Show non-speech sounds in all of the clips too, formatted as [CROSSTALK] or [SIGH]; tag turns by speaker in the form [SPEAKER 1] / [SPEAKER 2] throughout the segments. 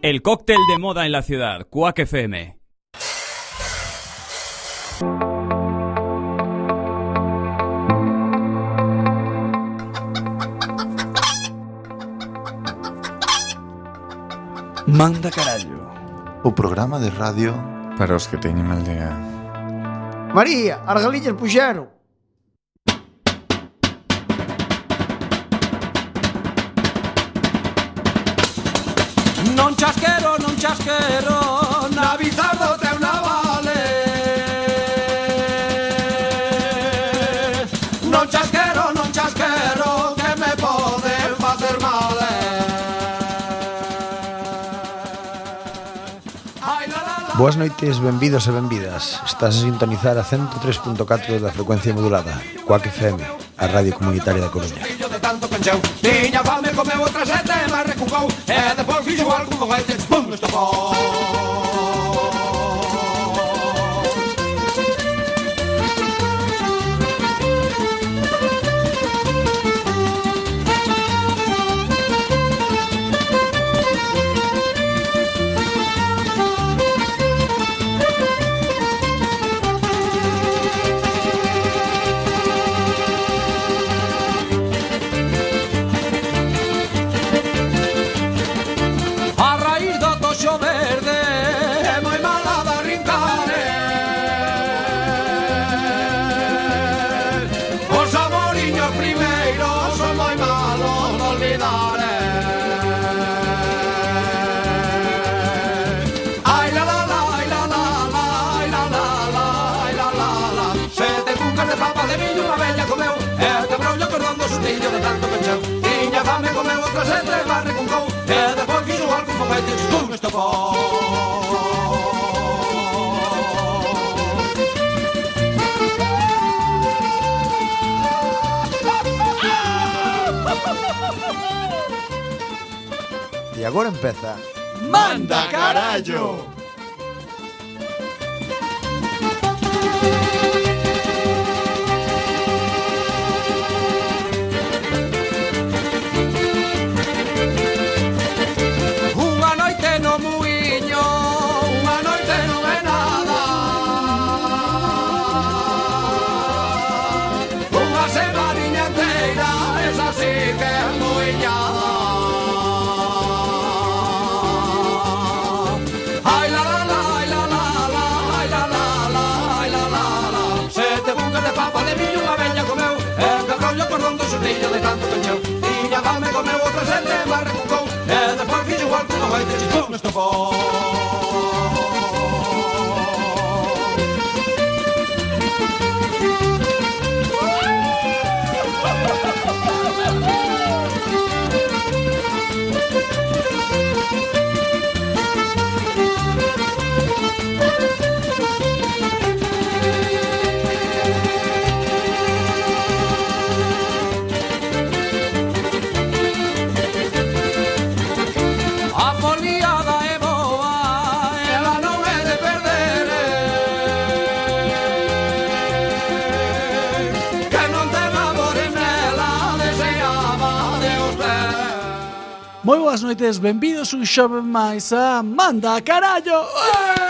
[SPEAKER 1] El cóctel de moda en la ciudad, Quack FM.
[SPEAKER 2] Manda carallo.
[SPEAKER 3] O programa de radio para os que teñen mal día.
[SPEAKER 4] María, as galiñas puxeron.
[SPEAKER 5] Non chasquero, non chasquero Na bizardo teu navale Non chasquero, non chasquero Que me poden facer mal Ai, la, la, la
[SPEAKER 2] Boas noites, benvidos e benvidas. Estás a sintonizar a 103.4 da frecuencia modulada, Cuac FM, a radio comunitaria da Coruña.
[SPEAKER 5] Fillo de tanto pencheu Tiña fame, comeu outra sete E máis recucou E depois fixo algo con este Pum, estopou A raíz do toxo verde É moi mala da rincare Os amoriños primeiros Son moi malos de olvidar eh. Ai la la la, ai la la la Ai la la la, ai la la la Sete cucas de papa de millo Unha bella comeu E te brollo cordando sustillo de tanto pecheu Tiña fame comeu outra sete Barre con cou E depois fixo algo con fetes Con estopou
[SPEAKER 2] E agora empeza
[SPEAKER 5] Manda carallo. Unha noite no muiño, unha noite non é nada. Unha semaniña inteira, esa sí que é muiñada. Ai la la la, ai la la la, ai la la la, ai la la la. Sete bucas de papa de millo unha bella comeu, e de rollo con rondo xurrillo de tanto pencheu. Tiña fame comeu outra sete, mas recucou, e despois fixo igual que non vai ter chispou no estofón. A foliada é boa, ela non é de perder eh. Que non ten amores nela, deseaba Deus ter
[SPEAKER 4] Moi boas noites, benvidos un xove máis a Manda Carallo
[SPEAKER 2] Eh!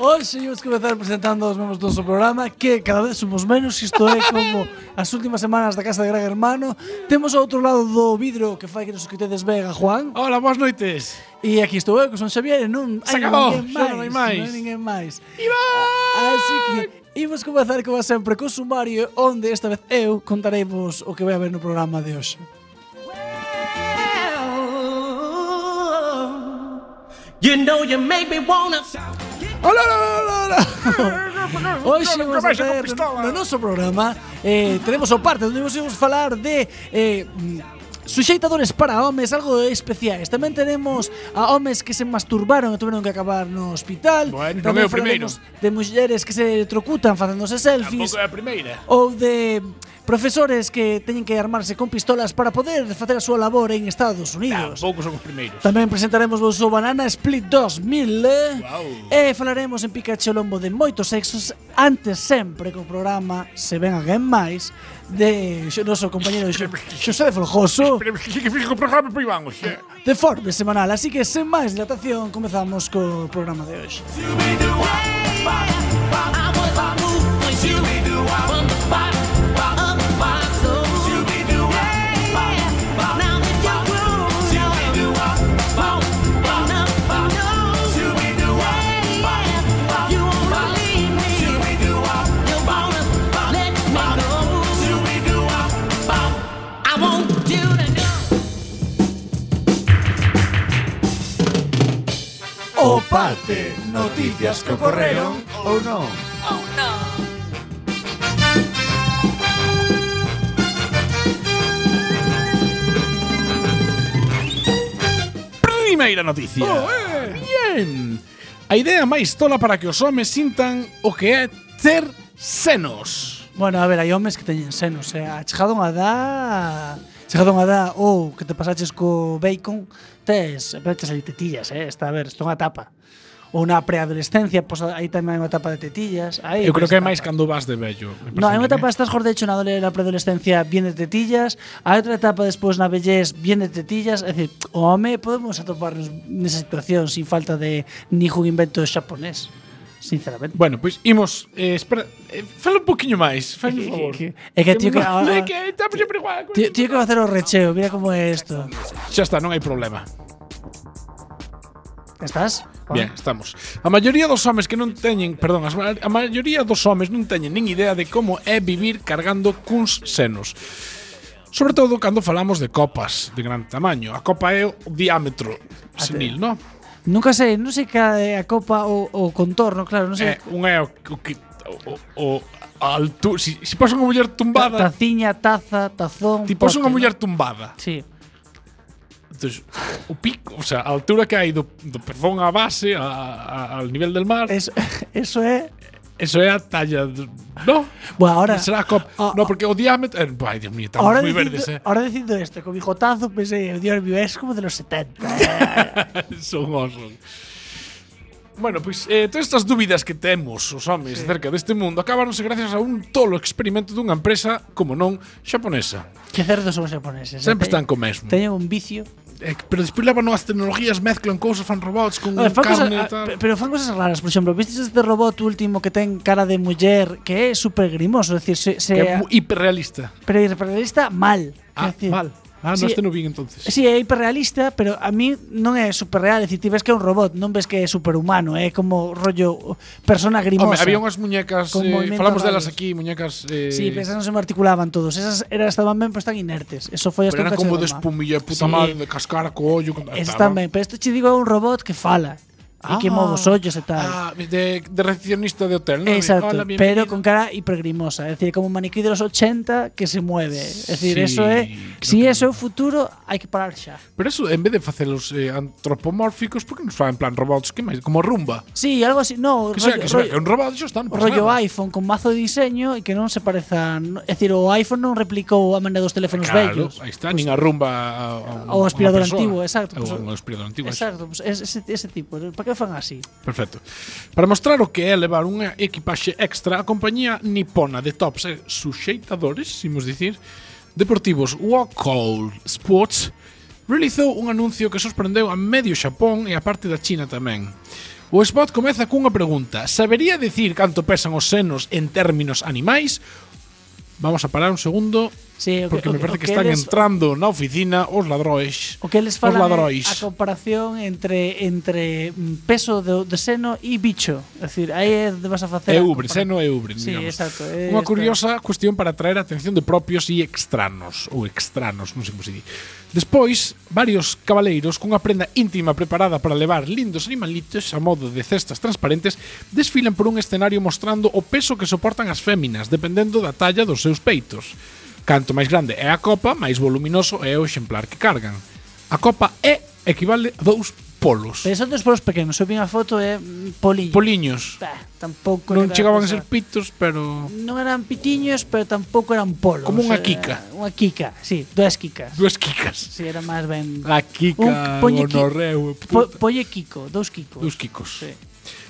[SPEAKER 4] Hoxe imos comezar presentando os membros do noso programa Que cada vez somos menos, isto é como as últimas semanas da casa de Gran Hermano Temos ao outro lado do vidro que fai que nos escutedes ben a Juan
[SPEAKER 6] Hola, boas noites.
[SPEAKER 4] E aquí estou eu, que son Xavier, e non
[SPEAKER 6] Se acabou,
[SPEAKER 4] ninguén
[SPEAKER 6] xa non hai máis.
[SPEAKER 4] Non hai ninguén máis. Así que imos comezar como sempre co sumario onde esta vez eu contareivos o que vai haber no programa de hoxe.
[SPEAKER 5] You know you make me wanna
[SPEAKER 4] Hola, hola, hola, hola. Hoxe
[SPEAKER 6] Pistola,
[SPEAKER 4] vamos a
[SPEAKER 6] cabeza con
[SPEAKER 4] ter
[SPEAKER 6] pistola.
[SPEAKER 4] no noso programa eh, Tenemos o parte onde vos imos falar de eh, mm, Suxeitadores para homes, algo especiais Tamén tenemos a homes que se masturbaron e tiveron que acabar no hospital
[SPEAKER 6] Bueno, non
[SPEAKER 4] Tamén
[SPEAKER 6] é o primeiro.
[SPEAKER 4] falaremos De mulleres que se trocutan facéndose selfies
[SPEAKER 6] Tampouco é a primeira.
[SPEAKER 4] Ou de Profesores que teñen que armarse con pistolas para poder facer a súa labor en Estados Unidos.
[SPEAKER 5] Tampouco son os primeiros.
[SPEAKER 4] Tamén presentaremos o seu Banana Split 2000 eh? E falaremos en Pikachu Lombo de moitos sexos Antes sempre co programa Se ven alguén máis De xo, noso compañero xo, Xosé de Folgoso
[SPEAKER 5] Pero que que fixo o programa pois vamos. eh.
[SPEAKER 4] De Forbes semanal Así que sen máis dilatación Comezamos co programa de hoxe
[SPEAKER 6] I want you to know.
[SPEAKER 7] O parte, noticias que ocorreron ou non.
[SPEAKER 5] Primeira noticia. Bien. A idea máis tola para que os homes sintan o que é ter senos.
[SPEAKER 4] Bueno, a ver, hai homes que teñen senos, eh. A chegada unha dá... Chegada unha dá ou que te pasaches co bacon, tes, peches ali tetillas, eh. Está, a ver, isto é unha etapa. Ou na preadolescencia, pois aí tamén hai unha etapa de tetillas. Aí,
[SPEAKER 5] Eu creo que é
[SPEAKER 4] esta
[SPEAKER 5] máis
[SPEAKER 4] etapa.
[SPEAKER 5] cando vas de vello. eh. me
[SPEAKER 4] No,
[SPEAKER 5] parece
[SPEAKER 4] hai unha
[SPEAKER 5] a mí,
[SPEAKER 4] etapa, estás gordecho na adole- na preadolescencia, bien de tetillas. Hai outra etapa despois na vellez, bien de tetillas. É dicir, o home podemos atoparnos nesa situación sin falta de ningún invento xaponés,
[SPEAKER 5] eh.
[SPEAKER 4] sinceramente.
[SPEAKER 5] Bueno, pois imos, eh, espera, eh, fala un poquinho máis, fai un favor.
[SPEAKER 4] que- é que, tío, que ahora-
[SPEAKER 5] É que estamos sempre igual. con
[SPEAKER 4] Tío, tío que va a hacer o recheo, mira como é isto.
[SPEAKER 5] Xa está, non hai problema.
[SPEAKER 4] Estás? Juan?
[SPEAKER 5] Bien, estamos. A maioría dos homes que non teñen, perdón, as ma- a maioría dos homes non teñen nin idea de como é vivir cargando cuns senos. Sobre todo cando falamos de copas de gran tamaño. A copa é o diámetro senil, non?
[SPEAKER 4] Nunca sei, non sei ca é eh, a copa ou o contorno, claro, non sei.
[SPEAKER 5] É, un é o, o, que- o, o a altura, si, si pasa unha muller
[SPEAKER 4] Ta-
[SPEAKER 5] tumbada,
[SPEAKER 4] Taciña, taza, tazón.
[SPEAKER 5] ti pasa
[SPEAKER 4] pote,
[SPEAKER 5] unha
[SPEAKER 4] non?
[SPEAKER 5] muller tumbada.
[SPEAKER 4] Sí.
[SPEAKER 5] Entonces, o pico, o sea, a altura que hai do, do perfón á base, a, a, al nivel del mar,
[SPEAKER 4] Eso, [LAUGHS] eso é.
[SPEAKER 5] eso é a talla, do- no?
[SPEAKER 4] Bueno, ahora.
[SPEAKER 5] será a copa.
[SPEAKER 4] ah,
[SPEAKER 5] no, porque o diámetro, eh, ai, Dios mío, estamos
[SPEAKER 4] Ahora ah.
[SPEAKER 5] moi
[SPEAKER 4] dicindo,
[SPEAKER 5] verdes, eh.
[SPEAKER 4] ahora dicindo esto, con bigotazo pensei, o eh, Dios mío, es como de los 70. [LAUGHS] eh.
[SPEAKER 5] [LAUGHS] Son osos. Bueno, pois eh, todas estas dúbidas que temos os homes sí. acerca deste mundo acábaronse gracias a un tolo experimento dunha empresa, como non, xaponesa.
[SPEAKER 4] que cerdos son os japoneses. eh.
[SPEAKER 5] Sempre están
[SPEAKER 4] Teñen-
[SPEAKER 5] co mesmo.
[SPEAKER 4] Teñen un vicio.
[SPEAKER 5] Eh, pero despois levan novas tecnologías, mezclan cousas, fan robots con
[SPEAKER 4] A ver, fan cosas-
[SPEAKER 5] carne e
[SPEAKER 4] a-
[SPEAKER 5] tal.
[SPEAKER 4] pe- pero fan cosas raras, por exemplo, vistes este robot último que ten cara de muller que é super grimoso, é dicir, se, se
[SPEAKER 5] que é moi hiperrealista.
[SPEAKER 4] pero hiperrealista mal. é eh,
[SPEAKER 5] Ah,
[SPEAKER 4] dicir,
[SPEAKER 5] mal. Ah,
[SPEAKER 4] sí,
[SPEAKER 5] non este non vin entonces.
[SPEAKER 4] Si, é hiperrealista, pero a mí non é superreal, é dicir, ti ves que é un robot, non ves que é superhumano, é como rollo persona grimosa.
[SPEAKER 5] Home, había unhas muñecas,
[SPEAKER 4] Con
[SPEAKER 5] eh,
[SPEAKER 4] movimientos
[SPEAKER 5] falamos delas
[SPEAKER 4] raros.
[SPEAKER 5] aquí, muñecas eh,
[SPEAKER 4] Sí, pero esas non se me articulaban todos. Esas eran, estaban ben, pero están inertes. Eso foi hasta un
[SPEAKER 5] pero eran
[SPEAKER 4] cacho de
[SPEAKER 5] como de
[SPEAKER 4] goma.
[SPEAKER 5] espumilla, puta
[SPEAKER 4] Sí.
[SPEAKER 5] madre, de cascar co ollo. con-
[SPEAKER 4] Esas están
[SPEAKER 5] Estaban-
[SPEAKER 4] ben, pero isto che digo é un robot que fala. E que move os ollos e tal.
[SPEAKER 5] Ah, de, de recepcionista de hotel, ¿no?
[SPEAKER 4] Exacto,
[SPEAKER 5] Hola, bienvenido.
[SPEAKER 4] pero con cara hipergrimosa, es decir, como un maniquí de los 80 que se mueve. Es decir,
[SPEAKER 5] Sí,
[SPEAKER 4] eso es,
[SPEAKER 5] creo
[SPEAKER 4] si
[SPEAKER 5] que-
[SPEAKER 4] eso é o futuro, hai que parar xa.
[SPEAKER 5] Pero eso, en vez de facelos eh, antropomórficos, por que nos fan en plan robots? Que máis? Como rumba.
[SPEAKER 4] Sí, algo así, no,
[SPEAKER 5] Que sea,
[SPEAKER 4] rollo-
[SPEAKER 5] que sea,
[SPEAKER 4] rollo-
[SPEAKER 5] que un robot xo está non
[SPEAKER 4] O
[SPEAKER 5] pasa
[SPEAKER 4] rollo
[SPEAKER 5] nada.
[SPEAKER 4] iPhone con mazo de diseño e que non se pareza, no- é dicir, o iPhone non replicou a maneira dos teléfonos
[SPEAKER 5] Claro,
[SPEAKER 4] vellos.
[SPEAKER 5] aí está, nin a rumba a, a, a
[SPEAKER 4] Ao
[SPEAKER 5] unha
[SPEAKER 4] Pues aspirador
[SPEAKER 5] persona.
[SPEAKER 4] antigo, exacto,
[SPEAKER 5] Ou
[SPEAKER 4] pues,
[SPEAKER 5] ao aspirador antigo, eso.
[SPEAKER 4] Exacto, pues, es- ese, ese tipo, para que fan así?
[SPEAKER 5] Perfecto. Para mostrar o que é levar unha equipaxe extra, a compañía nipona de tops e suxeitadores, imos dicir, deportivos Walkout Sports realizou un anuncio que sorprendeu a medio Xapón e a parte da China tamén. O spot comeza cunha pregunta. Sabería dicir canto pesan os senos en términos animais? Vamos a parar un segundo,
[SPEAKER 4] Sí, o que-
[SPEAKER 5] porque
[SPEAKER 4] o
[SPEAKER 5] me
[SPEAKER 4] que-
[SPEAKER 5] parece
[SPEAKER 4] o
[SPEAKER 5] que
[SPEAKER 4] que
[SPEAKER 5] están
[SPEAKER 4] eles-
[SPEAKER 5] entrando na oficina os ladrois.
[SPEAKER 4] O que les
[SPEAKER 5] os
[SPEAKER 4] falan é
[SPEAKER 5] ladrois.
[SPEAKER 4] a comparación entre entre mm, peso do, de seno e bicho, é dicir, aí é onde vas a facer.
[SPEAKER 5] É
[SPEAKER 4] a
[SPEAKER 5] Uber,
[SPEAKER 4] comparación.
[SPEAKER 5] Eh, seno é Uber,
[SPEAKER 4] Sí,
[SPEAKER 5] digamos.
[SPEAKER 4] exacto, é esta.
[SPEAKER 5] Unha curiosa cuestión para atraer a atención de propios e extranos, ou extranos, non sei como se di. Despois, varios cabaleiros cunha prenda íntima preparada para levar lindos animalitos a modo de cestas transparentes desfilan por un escenario mostrando o peso que soportan as féminas, dependendo da talla dos seus peitos. Canto máis grande é a copa, máis voluminoso é o exemplar que cargan. A copa E equivale a 2 polos.
[SPEAKER 4] Pero son dos polos pequenos, eu vi a foto é mm, poliño.
[SPEAKER 5] Poliños.
[SPEAKER 4] Bah, tampouco
[SPEAKER 5] Non
[SPEAKER 4] era
[SPEAKER 5] chegaban a
[SPEAKER 4] cosa-
[SPEAKER 5] ser pitos, pero
[SPEAKER 4] Non eran pitiños, pero tampouco eran polos.
[SPEAKER 5] Como unha
[SPEAKER 4] eh,
[SPEAKER 5] quica.
[SPEAKER 4] Unha quica, sí, dúas quicas.
[SPEAKER 5] dúas quicas.
[SPEAKER 4] Si, sí, era máis ben...
[SPEAKER 5] A quica,
[SPEAKER 4] Un- poñe qui-
[SPEAKER 5] gonorreu,
[SPEAKER 4] Po,
[SPEAKER 5] puta.
[SPEAKER 4] polle Kiko, dous Kikos.
[SPEAKER 5] Dous quicos.
[SPEAKER 4] Sí.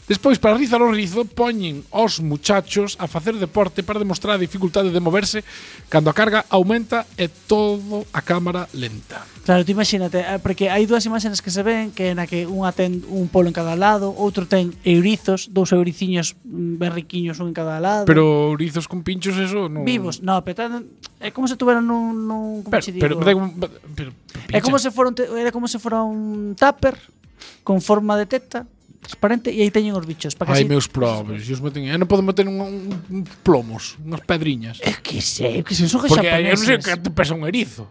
[SPEAKER 5] Despois, para rizar o rizo, poñen os muchachos a facer deporte para demostrar a dificultade de moverse cando a carga aumenta e todo a cámara lenta.
[SPEAKER 4] Claro, tú imagínate, eh, porque hai dúas imaxenes que se ven que na que unha ten un polo en cada lado, outro ten eurizos, dous euriciños mm, ben riquiños un en cada lado.
[SPEAKER 5] Pero rizos con pinchos, eso non...
[SPEAKER 4] vivos. No, pero tan- é como se tuveran nun, nun como
[SPEAKER 5] Pero,
[SPEAKER 4] che digo?
[SPEAKER 5] pero, pero, pero, pero
[SPEAKER 4] é como se fora un te- era como se fora un tupper con forma de teta transparente e aí teñen os bichos, para que
[SPEAKER 5] Ai, meus probes, eu meten, eu eh, non podo meter un, un, un plomos, unhas pedriñas.
[SPEAKER 4] É que sei, que se son
[SPEAKER 5] Porque eu non sei
[SPEAKER 4] japoneses.
[SPEAKER 5] que te pesa un erizo.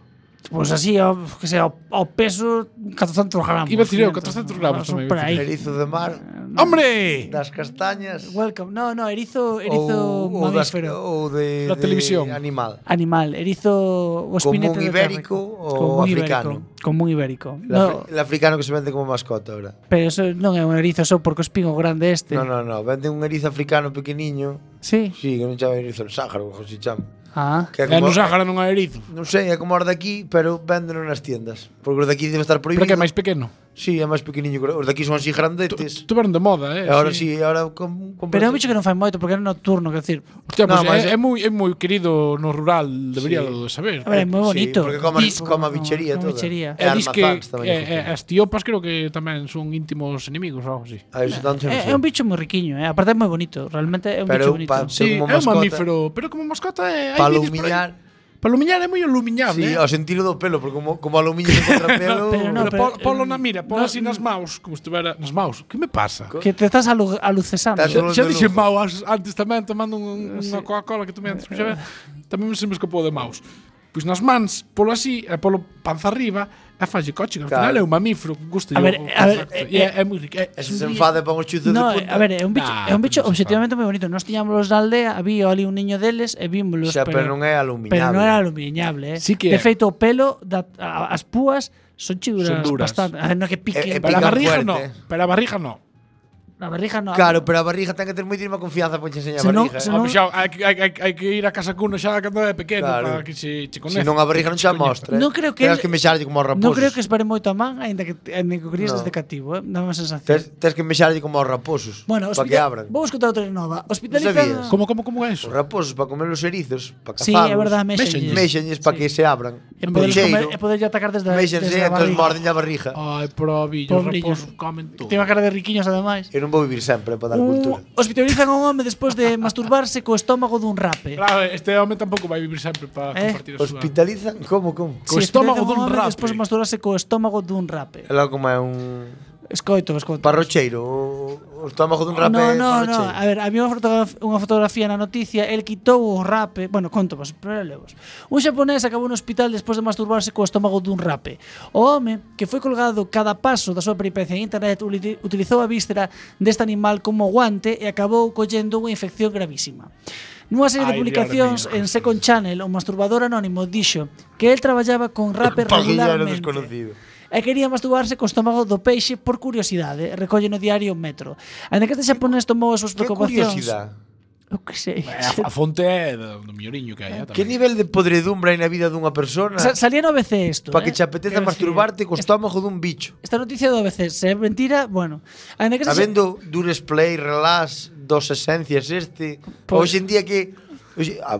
[SPEAKER 4] Pois así, ao, que sei, ao, ao peso 400 gramos.
[SPEAKER 5] Iba a decir eu, 400
[SPEAKER 4] 500,
[SPEAKER 5] gramos
[SPEAKER 4] son
[SPEAKER 5] tamén iba
[SPEAKER 4] por
[SPEAKER 5] a
[SPEAKER 4] aí.
[SPEAKER 2] Erizo de mar,
[SPEAKER 5] Hombre!
[SPEAKER 2] das castañas
[SPEAKER 4] Welcome. No, no, erizo, erizo
[SPEAKER 2] ou, ou, das,
[SPEAKER 4] mamífero.
[SPEAKER 2] ou de,
[SPEAKER 5] Da
[SPEAKER 2] de
[SPEAKER 5] televisión.
[SPEAKER 2] animal.
[SPEAKER 4] Animal, erizo o
[SPEAKER 2] Común
[SPEAKER 4] espinete de
[SPEAKER 2] ibérico
[SPEAKER 4] Tárraco.
[SPEAKER 2] ou
[SPEAKER 4] Común
[SPEAKER 2] africano?
[SPEAKER 4] Ibérico, común ibérico.
[SPEAKER 2] El,
[SPEAKER 4] No,
[SPEAKER 2] afri- el africano que se vende como mascota ahora.
[SPEAKER 4] pero eso non é un erizo só porque o espigo grande este.
[SPEAKER 2] No, no, no, vende un erizo africano pequeniño.
[SPEAKER 4] Sí.
[SPEAKER 2] Sí, que non chama erizo el Sáhara, ojo si chama.
[SPEAKER 4] Ah.
[SPEAKER 2] Que é
[SPEAKER 5] E
[SPEAKER 2] como,
[SPEAKER 5] no Sáhara Eh, non hai erizo.
[SPEAKER 2] non sei, é como os daqui, pero véndeno nas tiendas. Porque os daqui debe estar prohibido.
[SPEAKER 5] Pero que é máis pequeno.
[SPEAKER 2] Sí, é máis pequeniño. que Os daqui son así grandetes.
[SPEAKER 5] Tuveron de moda,
[SPEAKER 2] E
[SPEAKER 5] eh?
[SPEAKER 2] ahora sí, e ahora com, eh, com
[SPEAKER 4] Pero é un bicho que non fai moito porque era nocturno, quer decir.
[SPEAKER 5] Hostia,
[SPEAKER 2] No,
[SPEAKER 5] pues
[SPEAKER 2] mas-
[SPEAKER 5] é, é moi é moi querido no rural, debería
[SPEAKER 2] Sí.
[SPEAKER 5] de saber.
[SPEAKER 4] A ver, é moi bonito.
[SPEAKER 2] porque come-
[SPEAKER 4] Disco,
[SPEAKER 2] come a
[SPEAKER 4] no,
[SPEAKER 2] bichería
[SPEAKER 4] come
[SPEAKER 2] toda.
[SPEAKER 4] bichería.
[SPEAKER 2] É
[SPEAKER 5] E dis que,
[SPEAKER 2] almazáns tamén,
[SPEAKER 5] que eh,
[SPEAKER 2] efectivamente.
[SPEAKER 5] as tiopas creo que tamén son íntimos enemigos ou algo así.
[SPEAKER 2] A iso tanto non
[SPEAKER 4] É, é
[SPEAKER 2] sei.
[SPEAKER 4] un bicho moi riquiño, eh? aparte é moi bonito, realmente é un bicho
[SPEAKER 2] Pero
[SPEAKER 4] bonito.
[SPEAKER 2] pa-
[SPEAKER 5] Sí,
[SPEAKER 2] como
[SPEAKER 5] é un
[SPEAKER 2] mascota.
[SPEAKER 5] mamífero, pero como mascota eh, é...
[SPEAKER 2] Para alumiñar.
[SPEAKER 5] Palumiñar é moi alumiñable.
[SPEAKER 2] Sí,
[SPEAKER 5] eh?
[SPEAKER 2] ao sentido do pelo, porque como,
[SPEAKER 4] [LAUGHS]
[SPEAKER 2] como alumiño se contra
[SPEAKER 4] Ah,
[SPEAKER 2] pelo...
[SPEAKER 4] pero non,
[SPEAKER 5] Pero pol-
[SPEAKER 4] eh,
[SPEAKER 5] polo na mira, polo
[SPEAKER 4] no, mm.
[SPEAKER 5] así nas maus, como estuvera nas maus. Que me pasa?
[SPEAKER 4] Que te estás alu alucesando.
[SPEAKER 2] Estás-
[SPEAKER 5] Xa, xa
[SPEAKER 2] de lujo.
[SPEAKER 5] dixen mau as- antes tamén tomando un, unha Coca-Cola que tomei antes, pero xa ve, tamén se me escapou de maus. Pois nas mans, polo así, e polo panza arriba, e falle coche, que ao
[SPEAKER 2] Claro.
[SPEAKER 5] final é un mamífero, que gusta
[SPEAKER 4] A ver, a ver,
[SPEAKER 5] é, é, moi rico. É,
[SPEAKER 2] E se se enfade para un chuzo
[SPEAKER 4] No, eh,
[SPEAKER 2] de punta.
[SPEAKER 4] a ver, é un bicho,
[SPEAKER 5] Nah,
[SPEAKER 4] é un bicho
[SPEAKER 5] pero non se
[SPEAKER 4] objetivamente moi bonito. Nós tiñámoslos na aldea, había ali un niño deles e vímolos,
[SPEAKER 2] Xa, pero non é alumiñable.
[SPEAKER 4] Pero non era alumiñable, eh.
[SPEAKER 5] Sí que
[SPEAKER 4] de
[SPEAKER 5] é.
[SPEAKER 4] feito o pelo da, a- as púas son chiduras
[SPEAKER 5] Son duras.
[SPEAKER 4] bastante, a ver, no que pique.
[SPEAKER 2] Eh, eh,
[SPEAKER 5] pero a
[SPEAKER 2] pican
[SPEAKER 5] barriga
[SPEAKER 2] fuerte.
[SPEAKER 5] no, pero a barriga no.
[SPEAKER 4] a barriga non.
[SPEAKER 2] Claro, pero a barriga ten que ter moitísima confianza para che enseñar
[SPEAKER 4] Se
[SPEAKER 2] a
[SPEAKER 4] non-
[SPEAKER 2] barriga. eh.
[SPEAKER 4] se
[SPEAKER 2] Se
[SPEAKER 4] non-
[SPEAKER 2] non,
[SPEAKER 5] Ah, pois xa, hai, que- hai, hai, hai que ir a casa cuna xa cando é pequeno
[SPEAKER 2] Claro.
[SPEAKER 5] para que se
[SPEAKER 2] se
[SPEAKER 5] che conece.
[SPEAKER 2] non a barriga non xa mostra.
[SPEAKER 4] Non creo que
[SPEAKER 2] Tens
[SPEAKER 4] el-
[SPEAKER 2] que mexarlle como aos raposos.
[SPEAKER 4] non creo que espere moito a man, aínda que aínda que o crías
[SPEAKER 2] No.
[SPEAKER 4] desde cativo, eh. Dame a sensación.
[SPEAKER 2] Tens, tens que mexarlle como aos raposos.
[SPEAKER 4] bueno,
[SPEAKER 2] para que
[SPEAKER 4] hospital-
[SPEAKER 2] abran.
[SPEAKER 4] Vou escutar outra nova. Hospitalizan.
[SPEAKER 2] sabías?
[SPEAKER 5] Como, como, como é
[SPEAKER 2] Os
[SPEAKER 5] eso?
[SPEAKER 2] raposos para comer os erizos, para
[SPEAKER 4] Sí, é
[SPEAKER 2] cazalos.
[SPEAKER 4] verdade, mexenlles.
[SPEAKER 5] Méxenlles.
[SPEAKER 2] Mexenlles para que se abran.
[SPEAKER 4] E poderlos comer,
[SPEAKER 2] Mexeiro.
[SPEAKER 4] e poderlle atacar desde,
[SPEAKER 2] Mexense
[SPEAKER 4] desde a
[SPEAKER 2] e
[SPEAKER 4] barriga.
[SPEAKER 2] entón morden a barriga.
[SPEAKER 5] Ai, probillo,
[SPEAKER 4] Pobriño.
[SPEAKER 5] raposo, comen todo.
[SPEAKER 4] Ten unha cara de riquiños ademais.
[SPEAKER 2] Eu non vou vivir sempre
[SPEAKER 4] Uh.
[SPEAKER 2] para dar cultura.
[SPEAKER 4] Un, hospitalizan a un home despois de masturbarse co estómago dun rape.
[SPEAKER 5] Claro, este home tampouco vai vivir sempre para
[SPEAKER 4] Eh?
[SPEAKER 5] compartir a súa...
[SPEAKER 2] Hospitalizan, como, como?
[SPEAKER 5] Co
[SPEAKER 4] hospitalizan
[SPEAKER 5] estómago
[SPEAKER 4] a
[SPEAKER 5] dun
[SPEAKER 4] home
[SPEAKER 5] rape.
[SPEAKER 4] Despois de masturbarse co estómago dun rape.
[SPEAKER 2] É logo como é un
[SPEAKER 4] Escoito, escoito.
[SPEAKER 2] parrocheiro, o, o estómago dun rape
[SPEAKER 4] no, no, no.
[SPEAKER 2] parrocheiro.
[SPEAKER 4] A ver, había unha fotografía, unha fotografía na noticia, el quitou o rape, bueno, conto vos, pero levos. Un xaponés acabou no hospital despois de masturbarse co estómago dun rape. O home, que foi colgado cada paso da súa peripecia en internet, uli- utilizou a víscera deste animal como guante e acabou collendo unha infección gravísima. Nunha serie de
[SPEAKER 5] Ai,
[SPEAKER 4] publicacións
[SPEAKER 5] Dios mío.
[SPEAKER 4] en Second Channel, o masturbador anónimo dixo que el traballaba con rape
[SPEAKER 2] Parrillero
[SPEAKER 4] regularmente.
[SPEAKER 2] desconocido.
[SPEAKER 4] E quería masturbarse co estómago do peixe por curiosidade, recolle no diario Metro. Ainda que este xaponés tomou as súas
[SPEAKER 2] Que
[SPEAKER 4] preocupacións.
[SPEAKER 2] curiosidade.
[SPEAKER 4] Eu que sei.
[SPEAKER 5] A, a fonte é do, do mioriño que hai. eh,
[SPEAKER 2] Que
[SPEAKER 5] tamén.
[SPEAKER 2] nivel de podredumbra hai na vida dunha persona
[SPEAKER 4] Sa- Salía no ABC isto,
[SPEAKER 2] para que
[SPEAKER 4] eh?
[SPEAKER 2] che
[SPEAKER 4] Quero
[SPEAKER 2] apeteza masturbarte co
[SPEAKER 4] decir,
[SPEAKER 2] estómago dun bicho?
[SPEAKER 4] Esta noticia do ABC, se é mentira, bueno. Ainda que este xa-
[SPEAKER 2] Habendo dures play, relax, dos esencias este,
[SPEAKER 4] Pois-
[SPEAKER 2] hoxe en día que hoxe, a,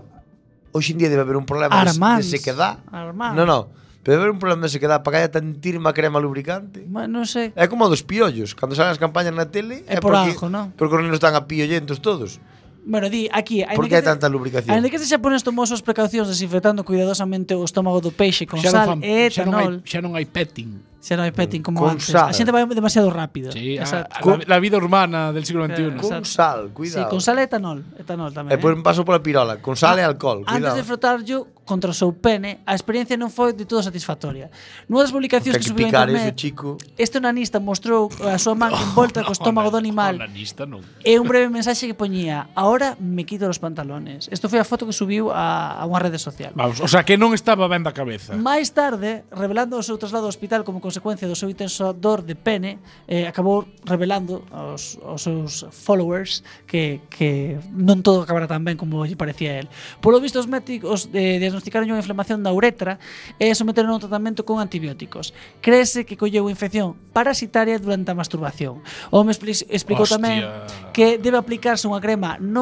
[SPEAKER 2] hoxe en día debe haber un problema
[SPEAKER 4] Armands.
[SPEAKER 2] de, se- de sequedad.
[SPEAKER 4] Armands.
[SPEAKER 2] No, no. Pero debe haber un problema de sequedad para que haya tantísima crema lubricante.
[SPEAKER 4] Ma- non sei.
[SPEAKER 2] É como a dos piollos, cando salen as campañas na tele
[SPEAKER 4] É por
[SPEAKER 2] porque,
[SPEAKER 4] algo, non?
[SPEAKER 2] Porque os nenos están a piollentos todos
[SPEAKER 4] Bueno, di, aquí, ainda
[SPEAKER 2] Por que hai tanta lubricación?
[SPEAKER 4] Ainda que este xaponés tomou as súas precaucións desinfectando cuidadosamente o estómago do peixe con
[SPEAKER 5] Xa non
[SPEAKER 4] sal
[SPEAKER 5] fan-
[SPEAKER 4] e
[SPEAKER 5] xa non hai,
[SPEAKER 4] etanol.
[SPEAKER 5] xa non hai petting.
[SPEAKER 4] Xa non hai petting como
[SPEAKER 2] Con
[SPEAKER 4] antes. A
[SPEAKER 2] sal.
[SPEAKER 4] xente vai demasiado rápido.
[SPEAKER 5] Sí, ah, a,
[SPEAKER 4] Exacto.
[SPEAKER 5] a, la, la vida urbana del siglo
[SPEAKER 4] Claro.
[SPEAKER 5] XXI.
[SPEAKER 4] Exacto.
[SPEAKER 2] Con sal,
[SPEAKER 4] Sí,
[SPEAKER 2] cuidado
[SPEAKER 4] con sal e etanol, etanol tamén. eh.
[SPEAKER 2] E
[SPEAKER 4] Ah,
[SPEAKER 2] por un paso pola pirola, con sal e alcohol
[SPEAKER 4] Antes
[SPEAKER 2] cuidado.
[SPEAKER 4] de frotarllo contra o seu pene, a experiencia non foi de todo satisfactoria. Nunha das publicacións
[SPEAKER 2] Ten
[SPEAKER 4] que
[SPEAKER 2] que
[SPEAKER 4] subiu a
[SPEAKER 2] picar eso,
[SPEAKER 4] internet,
[SPEAKER 2] chico
[SPEAKER 4] este onanista mostrou a súa man envolta co estómago do animal
[SPEAKER 5] Onanista non.
[SPEAKER 4] e un breve mensaxe que poñía Ahora me quito los pantalones. Isto foi a foto que subiu a, a unha rede social.
[SPEAKER 5] Vamos, o sea, que non estaba ben da cabeza.
[SPEAKER 4] Máis tarde, revelando o seu traslado ao hospital como consecuencia do seu intenso dor de pene, eh, acabou revelando aos, aos seus followers que, que non todo acabará tan ben como lle parecía a él. Polo visto, os médicos eh, diagnosticaron unha inflamación da uretra e someteron ao tratamento con antibióticos. Créese que colleu infección parasitaria durante a masturbación. O home expli- explicou
[SPEAKER 5] Hostia.
[SPEAKER 4] tamén que debe aplicarse unha crema non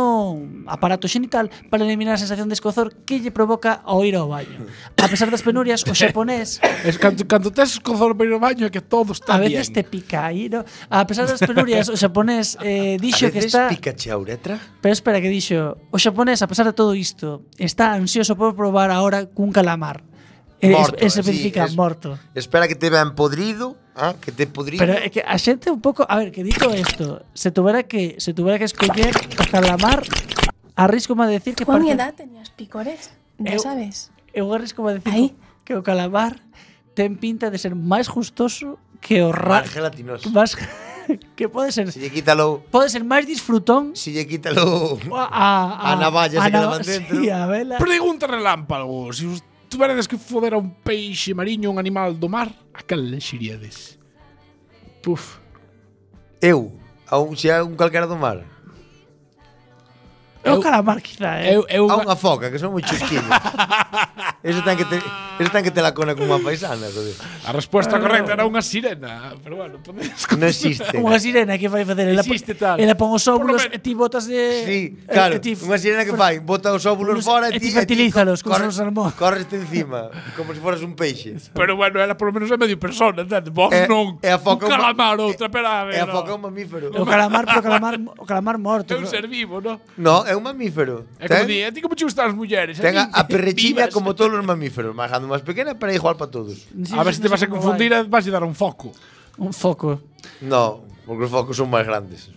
[SPEAKER 4] aparato xenital para eliminar a sensación de escozor que lle provoca ao ir ao baño. A pesar das penurias, o
[SPEAKER 2] [LAUGHS]
[SPEAKER 4] xaponés
[SPEAKER 5] Es cando, cando tes escozor para ir ao baño é que todo está
[SPEAKER 4] a veces te
[SPEAKER 5] bien.
[SPEAKER 4] pica aí, ¿no? A pesar das penurias, o xaponés
[SPEAKER 2] [LAUGHS]
[SPEAKER 4] eh, dixo que está...
[SPEAKER 7] pícache a uretra?
[SPEAKER 4] Pero espera que dixo, o xaponés, a pesar de todo isto, está ansioso por probar ahora cun calamar. E
[SPEAKER 2] Morto,
[SPEAKER 4] es, es, especifica,
[SPEAKER 2] sí, es-
[SPEAKER 4] morto.
[SPEAKER 2] Espera que te vean podrido, ah, que te podrido.
[SPEAKER 4] Pero é que a xente un pouco, a ver, que dito isto, se tuvera que se tuvera que escoller o calamar, arrisco a decir que
[SPEAKER 8] ¿Tú a mi
[SPEAKER 4] parece-
[SPEAKER 8] edad tenías picores? Ya
[SPEAKER 4] Eu-
[SPEAKER 8] sabes.
[SPEAKER 4] Eu arrisco a decir
[SPEAKER 8] Aí.
[SPEAKER 4] que o calamar ten pinta de ser máis justoso que o ra...
[SPEAKER 2] Más gelatinoso.
[SPEAKER 4] Más, [LAUGHS] que pode ser
[SPEAKER 2] Si le quítalo,
[SPEAKER 4] pode ser máis disfrutón
[SPEAKER 2] si le quítalo.
[SPEAKER 4] a, a,
[SPEAKER 2] A navalla se que
[SPEAKER 4] nav-
[SPEAKER 2] levan dentro.
[SPEAKER 4] Sí, a vela.
[SPEAKER 5] Pregunta relámpago. Se os tuveredes que foder a un peixe mariño, un animal do mar, a cal lexiríades?
[SPEAKER 4] Puf.
[SPEAKER 2] Eu, a un, si a un calcara do mar.
[SPEAKER 4] É o calamar, quizá, eh?
[SPEAKER 5] Eu, eu,
[SPEAKER 2] A unha foca, que son moi chusquillos. eso ten que te, eso ten que te la cona con unha paisana, joder.
[SPEAKER 5] a resposta correcta era unha sirena. Pero bueno, podes...
[SPEAKER 2] Non existe.
[SPEAKER 4] Unha sirena que vai facer ela,
[SPEAKER 5] Existe tal.
[SPEAKER 4] ela pon os
[SPEAKER 5] Por lo
[SPEAKER 4] óvulos
[SPEAKER 5] menos.
[SPEAKER 4] e ti botas de
[SPEAKER 2] Sí, claro,
[SPEAKER 4] e
[SPEAKER 5] eh,
[SPEAKER 4] ti-
[SPEAKER 2] unha sirena que fai, bota os
[SPEAKER 4] Unos-
[SPEAKER 2] óvulos fora
[SPEAKER 4] e
[SPEAKER 2] e
[SPEAKER 4] ti
[SPEAKER 2] ti,
[SPEAKER 4] fertilízalos, como son os salmón.
[SPEAKER 2] Corres encima, como se foras un peixe.
[SPEAKER 5] Pero bueno, era polo menos a medio persona, entende? Vos
[SPEAKER 2] É-
[SPEAKER 5] non.
[SPEAKER 2] é a foca
[SPEAKER 5] un
[SPEAKER 2] uma-
[SPEAKER 5] calamar, outra, pera, a
[SPEAKER 2] É a
[SPEAKER 5] ver, no.
[SPEAKER 2] foca é eh, un mamífero.
[SPEAKER 4] O calamar, pero o calamar, o calamar morto.
[SPEAKER 5] É un ser vivo, non?
[SPEAKER 2] No, é un mamífero.
[SPEAKER 5] É como di, eh,
[SPEAKER 2] Ten,
[SPEAKER 5] a ti como te gustan as mulleres?
[SPEAKER 2] ten a, ¿Eh?
[SPEAKER 5] mí,
[SPEAKER 2] a
[SPEAKER 5] [LAUGHS]
[SPEAKER 2] perrechina
[SPEAKER 5] vivas.
[SPEAKER 2] como todos os mamíferos, máis grande, máis pequena, pero é igual para todos.
[SPEAKER 4] Sí,
[SPEAKER 5] A ver
[SPEAKER 4] sí,
[SPEAKER 5] se
[SPEAKER 4] non
[SPEAKER 5] te vas
[SPEAKER 4] sei
[SPEAKER 5] a
[SPEAKER 4] como
[SPEAKER 5] confundir e vas a dar un foco.
[SPEAKER 4] vai. Un foco.
[SPEAKER 2] No, porque os focos son máis grandes.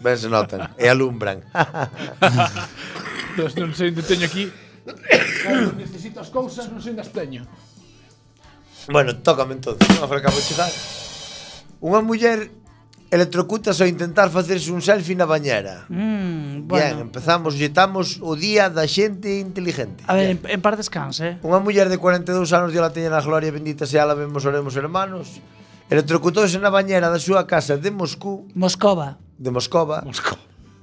[SPEAKER 2] Ben se notan, e alumbran.
[SPEAKER 5] Dos, non sei onde teño aquí. Necesito as cousas, non sei onde as teño.
[SPEAKER 2] Bueno, tócame entonces, non? Agora acabo de chegar. Unha muller electrocutase ao intentar facerse un selfie na bañera.
[SPEAKER 4] Mm,
[SPEAKER 2] Bien,
[SPEAKER 4] bueno.
[SPEAKER 2] empezamos, xetamos o día da xente inteligente.
[SPEAKER 4] a ver, en, en par descanse, eh?
[SPEAKER 2] Unha muller de 42 anos dio la teña na gloria, bendita sea la, vemos, oremos, hermanos. Electrocutouse na bañera da súa casa de Moscú,
[SPEAKER 4] Moscova.
[SPEAKER 2] de Moscova,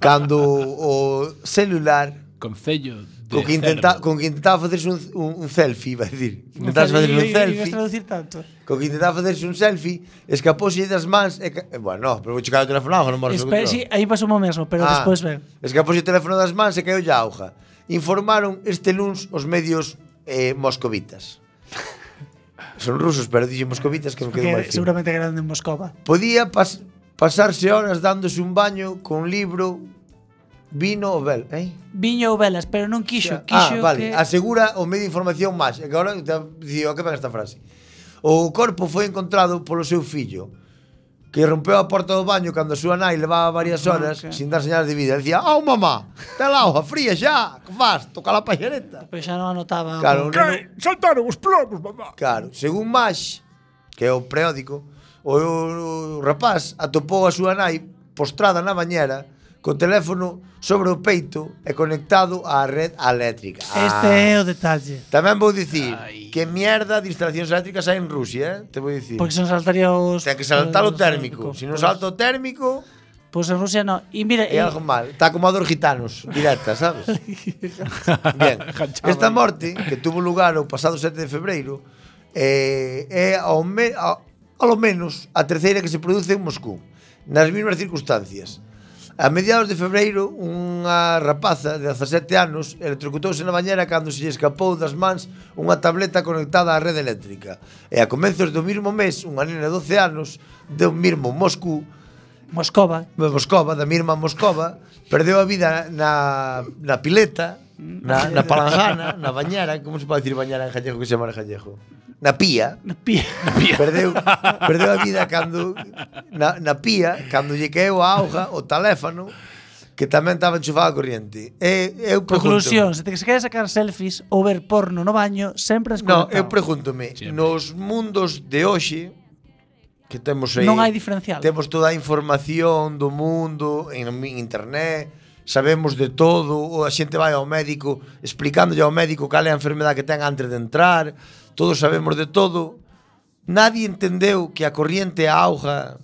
[SPEAKER 2] cando o celular
[SPEAKER 5] Concello de
[SPEAKER 2] co que, intenta, con que intentaba facerse un, un, un selfie, [LAUGHS] vai dicir, intentaba facerse un
[SPEAKER 4] Ibas
[SPEAKER 2] selfie,
[SPEAKER 4] traducir tanto.
[SPEAKER 2] co que intentaba facerse un selfie, escapouse das mans e... ca- eh, Bueno, no, pero vou checar o telefonado, non morres o
[SPEAKER 4] Espera,
[SPEAKER 2] control.
[SPEAKER 4] sí, aí pasou o mesmo,
[SPEAKER 2] Ah.
[SPEAKER 4] pero despois ven.
[SPEAKER 2] Escapouse o teléfono das mans e caeu a auga. Informaron este luns os medios eh,
[SPEAKER 4] [LAUGHS]
[SPEAKER 2] moscovitas. Son rusos, pero dixen moscovitas que me quedou
[SPEAKER 4] Porque
[SPEAKER 2] mal fino.
[SPEAKER 4] seguramente que eran de Moscova.
[SPEAKER 2] Podía pas pasarse horas dándose un baño con libro, vino ou bel, eh?
[SPEAKER 4] Viño ou velas, pero non quixo,
[SPEAKER 2] Ah,
[SPEAKER 4] quixo que...
[SPEAKER 2] vale, asegura o medio de información máis. E que agora te digo, que ven esta frase. O corpo foi encontrado polo seu fillo, que rompeu a porta do baño cando a súa nai levaba varias horas
[SPEAKER 4] Ah, ok.
[SPEAKER 2] okay. sin dar señales de vida. E Dicía, "Au mamá, tá la hoja fría xa, que fas? Toca la paxereta."
[SPEAKER 4] Pero pois xa non anotaba.
[SPEAKER 2] Claro, o neno,
[SPEAKER 5] Que saltaron os plomos, mamá.
[SPEAKER 2] claro, según Mash, que é o periódico, o, o rapaz atopou a súa nai postrada na bañera co teléfono sobre o peito e conectado á red eléctrica.
[SPEAKER 4] Este
[SPEAKER 2] Ah.
[SPEAKER 4] é o detalle.
[SPEAKER 2] Tamén vou dicir que mierda distraccións eléctricas hai en Rusia, eh? te vou dicir.
[SPEAKER 4] Porque se non saltaría os...
[SPEAKER 2] Ten que saltar
[SPEAKER 4] os-
[SPEAKER 2] o térmico. Se non
[SPEAKER 4] pois-
[SPEAKER 2] salta o térmico,
[SPEAKER 4] Pois en Rusia non. E mira, eh,
[SPEAKER 2] é
[SPEAKER 4] e-
[SPEAKER 2] algo mal. Está como a dos gitanos, directa, sabes? Bien. Esta morte, que tuvo lugar o pasado 7 de febreiro, eh, é ao, me, ao, ao menos a terceira que se produce en Moscú, nas mesmas circunstancias. A mediados de febreiro, unha rapaza de 17 anos electrocutouse na bañera cando se lle escapou das mans unha tableta conectada á rede eléctrica. E a comezos do mesmo mes, unha nena de 12 anos, do mesmo Moscú,
[SPEAKER 4] Moscova.
[SPEAKER 2] Moscova, da Mirma Moscova, perdeu a vida na, na pileta, na, [LAUGHS] na palangana, na bañera, como se pode dicir bañera en gallego que se chama en gallego? Na pía.
[SPEAKER 4] Na pía.
[SPEAKER 2] Perdeu, perdeu a vida cando na, na pía, cando lle caeu a auga o teléfono que tamén estaba enchufado a corriente. E, eu
[SPEAKER 4] Conclusión,
[SPEAKER 2] pregunto,
[SPEAKER 4] se te se queres sacar selfies ou ver porno no baño, sempre es
[SPEAKER 2] no, eu
[SPEAKER 4] conectado.
[SPEAKER 2] pregúntome, nos mundos de hoxe que temos aí
[SPEAKER 4] Non hai diferencial.
[SPEAKER 2] Temos toda a información do mundo en mi- internet, sabemos de todo, ou a xente vai ao médico explicándolle ao médico cal é a enfermedade que ten antes de entrar, todos sabemos de todo. nadie entendeu que a corriente, a auga,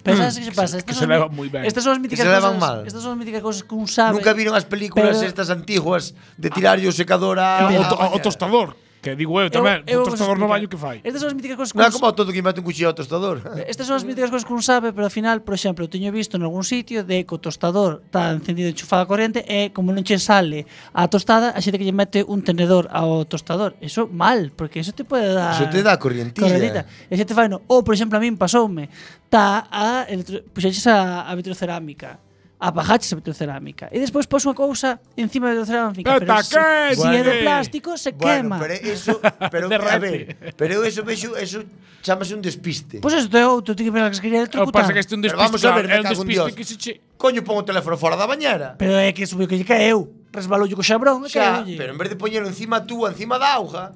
[SPEAKER 4] Pero sabes que se pasa?
[SPEAKER 5] que
[SPEAKER 4] Estas
[SPEAKER 5] se
[SPEAKER 4] son,
[SPEAKER 5] levan moi ben.
[SPEAKER 4] Estas son as míticas
[SPEAKER 2] Mm. se levan
[SPEAKER 4] cosas,
[SPEAKER 2] mal.
[SPEAKER 4] Estas son as míticas cosas que un sabe.
[SPEAKER 2] Nunca viron as películas
[SPEAKER 4] pero-
[SPEAKER 2] estas antiguas de tirar o secador a...
[SPEAKER 5] O, to-
[SPEAKER 2] a-
[SPEAKER 5] o tostador, que digo eu tamén.
[SPEAKER 4] Eu- eu
[SPEAKER 5] o
[SPEAKER 4] vos
[SPEAKER 5] tostador no
[SPEAKER 4] explicar.
[SPEAKER 5] baño que fai.
[SPEAKER 4] Estas son as míticas cosas que
[SPEAKER 2] Non é
[SPEAKER 4] un
[SPEAKER 2] como o todo que mete un cuchillo ao tostador.
[SPEAKER 4] Estas son as míticas cosas que un sabe, pero ao final, por exemplo, eu teño visto en algún sitio de que o tostador está encendido enchufado a corrente e como non che sale a tostada, a xente que lle mete un tenedor ao tostador. Eso mal, porque eso te pode dar...
[SPEAKER 2] Eso te dá corrientilla.
[SPEAKER 4] Correntita. E xente fai no. Ou, por exemplo, a min pasoume. Tá a... electro- Puxaches a, a vitrocerámica. Apajaches a vitrocerámica. E despois pos unha cousa encima da vitrocerámica. Pero,
[SPEAKER 5] Eta,
[SPEAKER 4] se, se é de
[SPEAKER 5] quente!
[SPEAKER 4] plástico, [LAUGHS] se
[SPEAKER 2] [LAUGHS]
[SPEAKER 4] quema.
[SPEAKER 2] pero eso, pero a ver, pero eu eso vexo, eso chamase un despiste.
[SPEAKER 4] Pois eso é outro, ti que pensar que se quería
[SPEAKER 5] O que
[SPEAKER 4] electrocutar.
[SPEAKER 5] pasa é que este é un
[SPEAKER 2] Pero
[SPEAKER 5] despiste.
[SPEAKER 2] vamos a ver, me
[SPEAKER 5] claro, é un
[SPEAKER 2] cago en
[SPEAKER 5] despiste
[SPEAKER 2] Dios.
[SPEAKER 5] que se che...
[SPEAKER 2] Coño, pon o teléfono fora da bañera.
[SPEAKER 4] Pero é que subiu que lle caeu. Resbalou co xabrón e
[SPEAKER 2] Xa,
[SPEAKER 4] caeulle.
[SPEAKER 2] pero en vez de poñelo encima tú, encima da auga,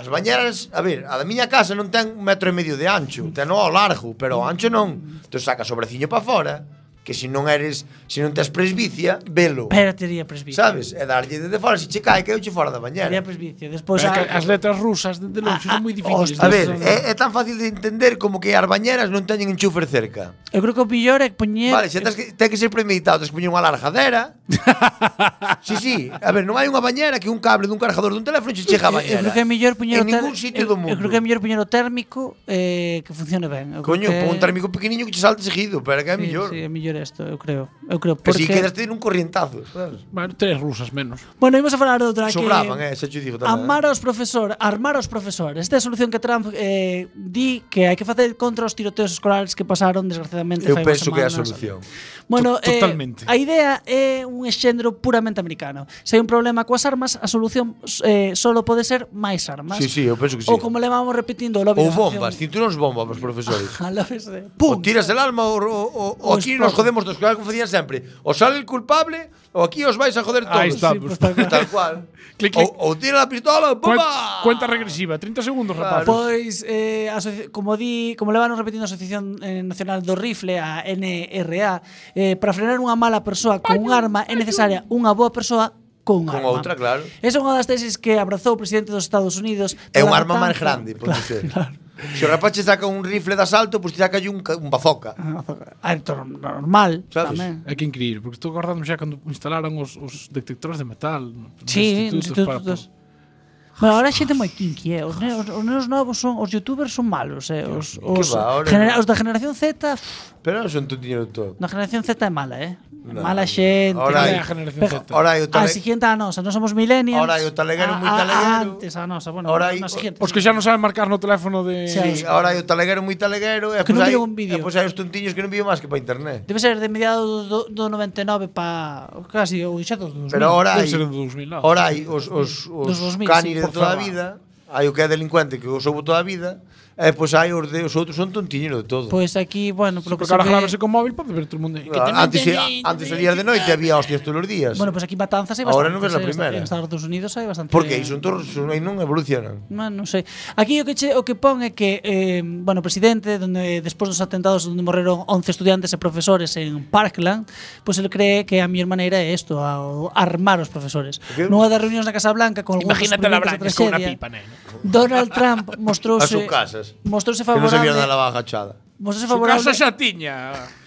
[SPEAKER 2] as bañeras, a ver, a da miña casa non ten un metro e medio de ancho, ten ao largo, pero ao ancho non. Entón Tu sacas o braciño para fora, que se non eres, se non tes presbicia, velo.
[SPEAKER 4] Pero tería presbicio.
[SPEAKER 2] Sabes? E darlle desde fora, se che cae, caeuche fora da bañera.
[SPEAKER 4] Tería presbicio. Despois
[SPEAKER 5] Pero é que
[SPEAKER 4] a-
[SPEAKER 5] as letras rusas, desde logo,
[SPEAKER 4] Pois Ah,
[SPEAKER 5] son moi
[SPEAKER 4] ah,
[SPEAKER 5] difíciles.
[SPEAKER 4] ostras.
[SPEAKER 2] A ver,
[SPEAKER 4] eh.
[SPEAKER 2] é, é tan fácil de entender como que as bañeras non teñen enchufer cerca.
[SPEAKER 4] eu creo que o mellor é poñer
[SPEAKER 2] Vale, xa tens que, ten que ser premeditado, tens que poñer unha
[SPEAKER 4] [LAUGHS]
[SPEAKER 2] largadera. sí, sí, a ver, non hai unha bañera que un cable dun cargador dun teléfono che chega
[SPEAKER 4] Eu
[SPEAKER 2] a bañera.
[SPEAKER 4] creo que é mellor poñer
[SPEAKER 2] eh.
[SPEAKER 4] o
[SPEAKER 2] En
[SPEAKER 4] ter-
[SPEAKER 2] ningún sitio
[SPEAKER 4] eu-
[SPEAKER 2] do mundo.
[SPEAKER 4] Eu creo que é mellor poñer o térmico eh, que funcione ben. Eu creo
[SPEAKER 2] Coño,
[SPEAKER 4] que...
[SPEAKER 2] pon un térmico pequeniño que che salte seguido, pero é que é
[SPEAKER 4] sí,
[SPEAKER 2] mellor.
[SPEAKER 4] Sí, é mellor isto, eu creo. Eu creo
[SPEAKER 2] Porque... Si
[SPEAKER 4] porque
[SPEAKER 2] quedaste en un corrientazo, sabes?
[SPEAKER 5] Bueno, tres rusas menos.
[SPEAKER 4] Bueno, íbamos a falar de outra
[SPEAKER 2] Sobraban,
[SPEAKER 4] que
[SPEAKER 2] eh, xa che digo tamén.
[SPEAKER 4] Amar aos profesor, armar aos profesores. Esta é a solución que Trump eh, di que hai que facer contra os tiroteos escolares que pasaron desgraciadamente
[SPEAKER 2] Eu
[SPEAKER 4] fai unhas
[SPEAKER 2] penso que é a
[SPEAKER 4] semanas.
[SPEAKER 2] solución.
[SPEAKER 4] Bueno,
[SPEAKER 5] To- totalmente.
[SPEAKER 4] eh, a idea é un exxendro puramente americano. Se hai un problema coas armas, a solución eh, solo pode ser máis armas.
[SPEAKER 2] Sí, sí, eu penso que sí.
[SPEAKER 4] Ou como levamos repetindo o lobby
[SPEAKER 2] Ou
[SPEAKER 4] da
[SPEAKER 2] bombas,
[SPEAKER 4] nación.
[SPEAKER 2] cinturóns bomba para os profesores.
[SPEAKER 4] [LAUGHS] A lobbies de-
[SPEAKER 2] O
[SPEAKER 4] ¡Pum!
[SPEAKER 2] tiras el alma o, o,
[SPEAKER 4] O
[SPEAKER 2] o- o aquí
[SPEAKER 4] explota.
[SPEAKER 2] nos jodemos dos, que era algo que facían sempre. O sale el culpable o aquí os vais a joder todos.
[SPEAKER 5] Ahí estamos.
[SPEAKER 4] Sí, pues,
[SPEAKER 2] Tal cual.
[SPEAKER 5] [LAUGHS] Clic, clic.
[SPEAKER 2] o, o tira la pistola,
[SPEAKER 5] Cuen-
[SPEAKER 2] ¡bomba!
[SPEAKER 5] Cuenta regresiva, 30 segundos, rapaz.
[SPEAKER 4] Pois, eh, asoci- como di, como levanos repetindo a Asociación eh, Nacional do Rifle, a NRA, eh, para frenar unha mala persoa con un arma é necesaria unha boa persoa con un
[SPEAKER 2] Con
[SPEAKER 4] arma.
[SPEAKER 2] outra, claro.
[SPEAKER 4] Esa é unha das tesis que abrazou o presidente dos Estados Unidos.
[SPEAKER 2] É un
[SPEAKER 4] Donald
[SPEAKER 2] arma máis
[SPEAKER 4] Trump.
[SPEAKER 2] grande, pode
[SPEAKER 4] [LAUGHS]
[SPEAKER 2] ser. Se o rapaz che saca un rifle de asalto, pois pues, saca un, ca- un bazooka.
[SPEAKER 4] Ah, tor- normal,
[SPEAKER 2] Sabes?
[SPEAKER 4] tamén.
[SPEAKER 5] Hay que increíble, porque estou acordando xa cando instalaron os, os detectores de metal nos
[SPEAKER 4] Sí, nos institutos.
[SPEAKER 5] para,
[SPEAKER 4] Bueno, ahora a xente moi kinky, eh. Os, ne os, os neos novos son, os youtubers son malos, eh. Os, os,
[SPEAKER 2] que va, ahora
[SPEAKER 4] genera-
[SPEAKER 2] no.
[SPEAKER 4] os da generación Z, pff,
[SPEAKER 2] Pero non son tu tiño todo.
[SPEAKER 4] da generación Z é mala, eh. mala xente.
[SPEAKER 2] Ahora
[SPEAKER 5] Ahora
[SPEAKER 2] hai-
[SPEAKER 5] é a generación Z.
[SPEAKER 2] Ahora hai o
[SPEAKER 4] A
[SPEAKER 2] tale...
[SPEAKER 4] Ah, siguiente a nosa, non somos millennials.
[SPEAKER 2] Ahora hai o taleguero
[SPEAKER 4] A-
[SPEAKER 2] moi
[SPEAKER 4] a-
[SPEAKER 2] taleguero.
[SPEAKER 4] Antes a nosa, bueno,
[SPEAKER 2] Ahora
[SPEAKER 4] ahora
[SPEAKER 2] hai
[SPEAKER 4] na siguiente.
[SPEAKER 5] Os que xa non saben marcar no teléfono de
[SPEAKER 4] Sí.
[SPEAKER 2] Sí, ahora hai o taleguero moi taleguero, e
[SPEAKER 4] Que
[SPEAKER 2] pois
[SPEAKER 4] non
[SPEAKER 2] hai,
[SPEAKER 4] viron un vídeo.
[SPEAKER 2] e pois hai os tontiños que non viven máis que para internet.
[SPEAKER 4] Debe ser de mediados do, do 99 pa casi ou xa dos 2000.
[SPEAKER 2] Pero ahora
[SPEAKER 5] Debe
[SPEAKER 2] hai...
[SPEAKER 5] ser do 2000, nada.
[SPEAKER 2] Ahora hai os, os, os
[SPEAKER 4] Dos 2000, sí,
[SPEAKER 2] cániles de
[SPEAKER 4] por
[SPEAKER 2] toda a
[SPEAKER 4] favor.
[SPEAKER 2] vida, hai o que é delincuente que os houve toda a vida, e pois hai os, de, os outros son tontiños de todo.
[SPEAKER 4] Pois aquí, bueno, polo que
[SPEAKER 5] porque
[SPEAKER 4] se
[SPEAKER 5] ahora
[SPEAKER 4] ve,
[SPEAKER 5] grabarse con móvil pode ver todo o mundo. aí.
[SPEAKER 2] Ah, antes, a- antes salías de noite había hostias todos os días.
[SPEAKER 4] Bueno, pues aquí matanzas hai
[SPEAKER 2] Ahora
[SPEAKER 4] bastante.
[SPEAKER 2] non ves la primera.
[SPEAKER 4] En Estados Unidos hai bastante.
[SPEAKER 2] Porque aí son todos, son, aí non evolucionan.
[SPEAKER 4] Man, non sei. Aquí o que che, o que pon é que eh, bueno, o presidente, donde despois dos atentados onde morreron 11 estudiantes e profesores en Parkland, pois el cree que a mellor maneira é isto, a, o armar os profesores.
[SPEAKER 2] Que-
[SPEAKER 4] Nunha das reunións na Casa Blanca con algúns
[SPEAKER 5] Imagínate a la
[SPEAKER 4] supervivientes da
[SPEAKER 5] Blanca con unha
[SPEAKER 4] tragedia,
[SPEAKER 5] pipa, neno.
[SPEAKER 4] Donald Trump
[SPEAKER 2] [LAUGHS] As
[SPEAKER 4] mostrouse
[SPEAKER 2] súas casas.
[SPEAKER 4] mostrouse
[SPEAKER 2] Que non se
[SPEAKER 4] favorable.
[SPEAKER 2] vieron a la baja chada.
[SPEAKER 4] mostrouse
[SPEAKER 5] Su
[SPEAKER 4] favorable.
[SPEAKER 5] casa xa tiña.